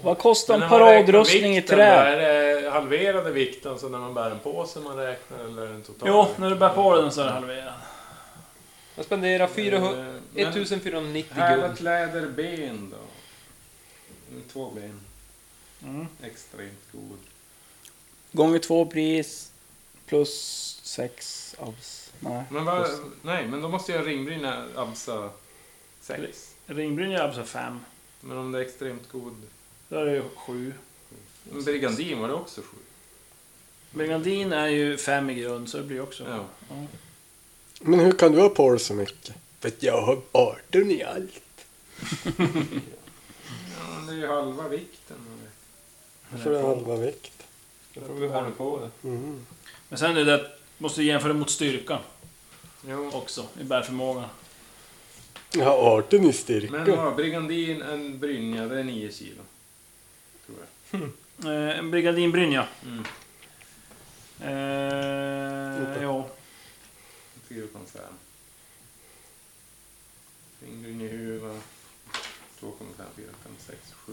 Speaker 7: Vad kostar
Speaker 6: Men
Speaker 7: en
Speaker 6: när man
Speaker 7: paradrustning
Speaker 6: räknar
Speaker 7: i
Speaker 6: vikten
Speaker 7: trä?
Speaker 6: då, Är det halverade vikten så när man bär den på sig man räknar eller är den totala?
Speaker 2: Jo, när du bär på den så är det halverad.
Speaker 5: Jag spenderar 400,
Speaker 6: Eh, men
Speaker 5: 1490
Speaker 6: Härdat läder ben då? Mm, Två ben.
Speaker 2: Mm.
Speaker 6: Extremt god.
Speaker 7: Gånger två pris. Plus sex abs. Nej.
Speaker 6: Men vad,
Speaker 7: plus-
Speaker 6: nej, men då måste jag ringbrynja Absa 6.
Speaker 2: Ringbrynja är alltså 5.
Speaker 6: Men om det är extremt god...
Speaker 2: Då är det ju 7.
Speaker 6: Men Brigandin var det också sju?
Speaker 2: Brigandin är ju 5 i grund, så det blir också...
Speaker 6: Ja.
Speaker 4: Men hur kan du ha på dig så mycket? För att jag har 18 i allt.
Speaker 6: Ja, men det är ju halva vikten.
Speaker 4: Jag får en halva vikt.
Speaker 5: Då får vi hålla på det.
Speaker 4: Mm.
Speaker 2: Men sen är det att... Måste du jämföra mot styrkan
Speaker 6: Jo.
Speaker 2: också, i bärförmågan.
Speaker 4: Jag har 18 i styrka.
Speaker 6: Men ja, Brigandin, en brynja, det är nio kilo. Tror jag.
Speaker 2: Eh, en Brigadin Brynja.
Speaker 6: Mm.
Speaker 2: Eh, ja.
Speaker 6: Jag tycker det kom så här. Ringbrynja i huva. 2,5, 4, 5, 6, 7.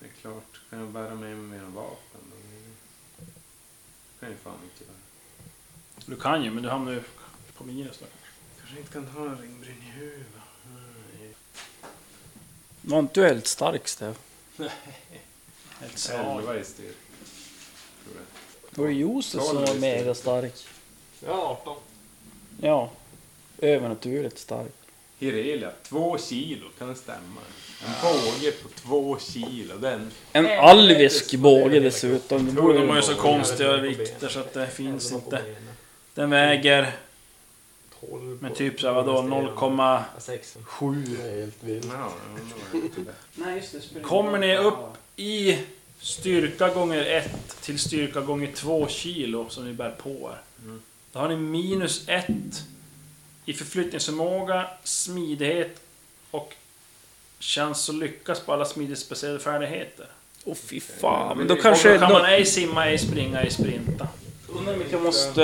Speaker 6: Det är klart, kan jag bära med mig mina vapen? då är det- kan ju fan inte bära.
Speaker 2: Du kan ju, men du hamnar ju på minus då.
Speaker 6: Kanske inte kan ha en ringbrynja i huva.
Speaker 7: Var inte du helt stark Stef?
Speaker 2: Ett slag.
Speaker 6: Elva i styr. Tror jag.
Speaker 7: Var det Josef som var mega stark?
Speaker 5: Ja, 18.
Speaker 7: Ja. Övernaturligt stark.
Speaker 6: Hirelia, två kilo, kan det stämma? En båge på två kilo, den...
Speaker 7: En alvisk båge dessutom. Det borde
Speaker 2: De har ju så konstiga vikter så att det finns inte. Den väger
Speaker 18: hål.
Speaker 2: Men
Speaker 18: på-
Speaker 2: typ såhär vadå, 0,
Speaker 18: Ja, sex.
Speaker 4: Sju är helt vilt.
Speaker 6: Ja, ja, det var inte det.
Speaker 19: Nej, just det. spelar
Speaker 2: Kommer
Speaker 19: ingen
Speaker 2: ni
Speaker 19: roll.
Speaker 2: upp i styrka gånger 1 till styrka gånger 2 kilo som ni bär på er. Då har ni minus 1 i förflyttningsförmåga, smidighet och chans att lyckas på alla smidighetsbaserade färdigheter.
Speaker 7: Åh fy fan, men då
Speaker 6: Och
Speaker 2: Kanske
Speaker 7: kanske...
Speaker 2: och då kan
Speaker 7: nå-
Speaker 2: man ej simma, ej springa, ej sprinta.
Speaker 7: Undrar om inte jag måste...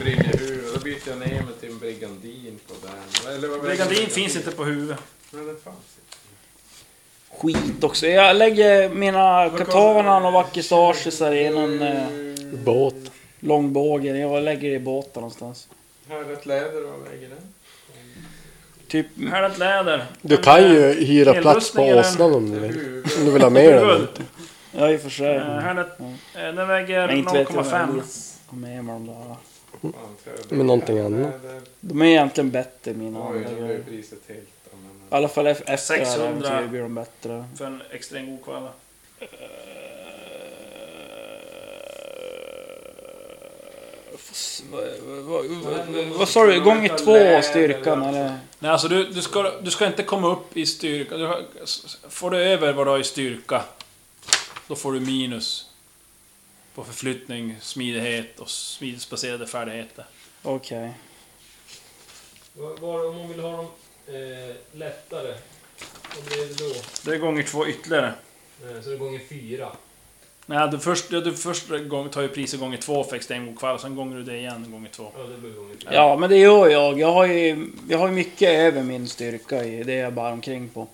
Speaker 6: Brinner huvud. Då byter jag ner mig till en brigandin på den. Eller vad-
Speaker 2: Brigandin finns inte på huvudet.
Speaker 6: Nej, den fanns inte.
Speaker 7: Skit också. Jag lägger mina katavanan och vakisagesar i någon eh,
Speaker 4: Båt.
Speaker 7: långbåge. Jag lägger det i båten någonstans.
Speaker 6: Härdat läder, vad väger den?
Speaker 7: Typ...
Speaker 2: Härdat läder. Eh,
Speaker 4: Du kan ju hyra
Speaker 2: Elrustning
Speaker 4: plats på
Speaker 2: är den-
Speaker 4: åsnan om du vill.
Speaker 6: Huvud.
Speaker 4: Om du vill ha med den.
Speaker 2: Huvud.
Speaker 7: Ja, i och för sig.
Speaker 2: Eh, Härdat... eh, Den väger
Speaker 7: Men inte vet jag vad den
Speaker 2: 0,5.
Speaker 7: är. Kom med med de där.
Speaker 6: Fan, tror jag det
Speaker 4: Men någonting
Speaker 6: är.
Speaker 4: annat.
Speaker 6: Nej, det-
Speaker 7: De är egentligen bättre mina
Speaker 6: Oj,
Speaker 7: andra
Speaker 6: nu blev
Speaker 7: grejer.
Speaker 6: priset helt... ja, men-
Speaker 7: I alla fall ef- efter det här
Speaker 2: 600.
Speaker 7: äventyret blir de bättre.
Speaker 2: För en extremt god koala.
Speaker 7: Fast, vad- vad- vad- vad- Vad sa du? Gånger två styrkan eller?
Speaker 2: Nej, alltså du, du, ska, du ska inte komma upp i styrka. Du, har- får du över vad du har i styrka, då får du minus på förflyttning, smidighet och smidighetsbaserade färdigheter.
Speaker 7: Okej.
Speaker 18: Var, var, om hon vill ha dem eh, lättare, vad blir det då?
Speaker 2: Det är gånger två ytterligare.
Speaker 18: Eh, så det är gånger fyra.
Speaker 2: Nej, du först, du först gång- tar ju priset gånger två för extrem god kväll, sen gånger du det igen gånger två.
Speaker 18: Ja, det blir gånger fyra.
Speaker 7: Ja, men det gör jag. Jag har ju jag har ju mycket över min styrka i det jag bär omkring på.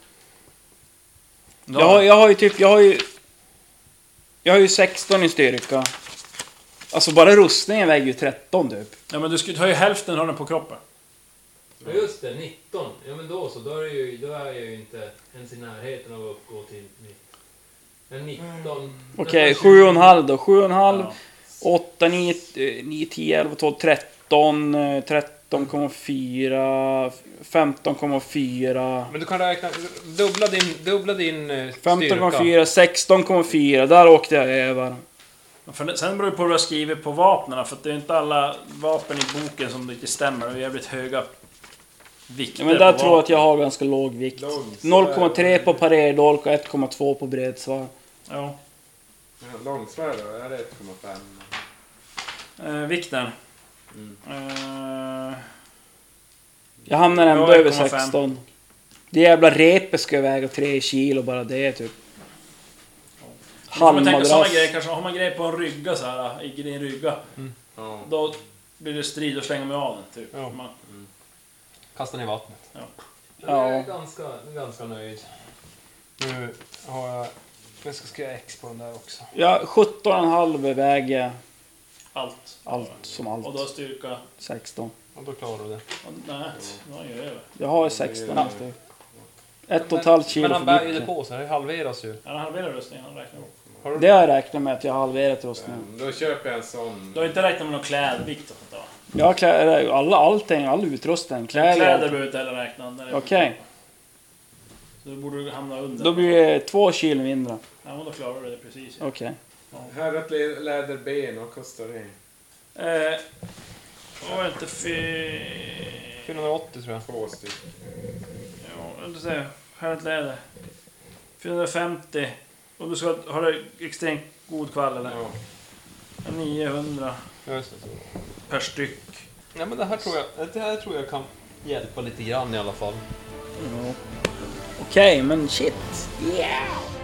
Speaker 2: Då,
Speaker 7: Jag har, jag har ju typ, jag har ju... Jag har ju 16 i styrka. Alltså bara rustningen väger ju 13 typ.
Speaker 2: Ja, men du ska, du har ju hälften av den på kroppen.
Speaker 18: Ja, just det, 19. Ja, men då så. Då är, det ju, då är jag ju inte ens i närheten av att uppgå till mitt... Ja, 19.
Speaker 7: Okej,
Speaker 18: Nästan
Speaker 7: 7,5 då. 7,5,
Speaker 2: Ja.
Speaker 7: 8, 9, 9, 10, 11, 12, 13, eh, 13,4, 15,4.
Speaker 5: Men du kan räkna, dubbla din, dubbla din eh, styrka.
Speaker 7: 15,4, 16,4. Där åkte jag över.
Speaker 2: För det- sen beror det på hur du har skrivit på vapnen, för att det är inte alla vapen i boken som riktigt stämmer. Det är jävligt höga vikter
Speaker 7: Ja, men där
Speaker 2: på
Speaker 7: tror jag att jag har ganska låg vikt. 0,3 på parerdolk och 1,2 på bredsvärd.
Speaker 2: vapen. Ja.
Speaker 6: Ja, Långsvärd då? Är det 1,5?
Speaker 2: Eh, vikten.
Speaker 6: Mm.
Speaker 2: Eh,
Speaker 7: Jag hamnar ändå
Speaker 2: Ja,
Speaker 7: över
Speaker 2: 1,5.
Speaker 7: 16. Det jävla repet ska väga 3 kilo bara det typ.
Speaker 2: då får man tänka sådana
Speaker 7: Halmmadrass.
Speaker 2: grejer, kanske har man grejer på en rygga så här, i din rygga,
Speaker 6: Ja.
Speaker 2: då blir det strid och slänga mig av den. Typ.
Speaker 5: Ja.
Speaker 2: Man,
Speaker 5: Kasta ner i vattnet.
Speaker 18: Ja. Jag är
Speaker 7: Ja.
Speaker 18: ganska, ganska nöjd.
Speaker 5: Nu har jag... Jag ska skriva X på den där också.
Speaker 7: Ja, 17,5 väger
Speaker 2: allt.
Speaker 7: allt som
Speaker 2: Och då har
Speaker 7: allt.
Speaker 2: styrka...
Speaker 7: 16.
Speaker 5: Och då klarar du det.
Speaker 2: och Nej, nu har jag över.
Speaker 7: Jag har 16 alltså. Ett och ett halvt kilo
Speaker 5: Men han bär
Speaker 7: för
Speaker 5: ju det
Speaker 7: mycket.
Speaker 5: på sig, det halveras ju.
Speaker 2: Han halverar rustningen, han räknar ihop.
Speaker 7: Det har jag räknat med att jag har halverat rustningen.
Speaker 6: Då köper jag en sån.
Speaker 2: Du har inte räknat med någon klädvikt och sånt där va?
Speaker 7: Jag har kläder, alla, allting, all utrustning, kläder.
Speaker 2: Kläder
Speaker 7: allt.
Speaker 2: behöver du inte heller räkna. när det är-
Speaker 7: Okej,
Speaker 2: Så då borde du hamna under.
Speaker 7: då blir det två kilo mindre.
Speaker 2: Ja, men då klarar du det precis. ja.
Speaker 7: Okej.
Speaker 6: Härdat lä- läderben, vad kostar det?
Speaker 2: Eh, var inte fel...
Speaker 5: 480 tror jag.
Speaker 6: Två stycken.
Speaker 2: Ja, jag vill säga, härligt läder. 450. Och du ska ha det extremt god kvall eller?
Speaker 6: Ja.
Speaker 2: 900
Speaker 5: Ja, just det.
Speaker 2: per styck.
Speaker 5: Ja, men det här tror jag, det här tror jag kan hjälpa lite grann i alla fall.
Speaker 7: Okej, men shit. Yeah!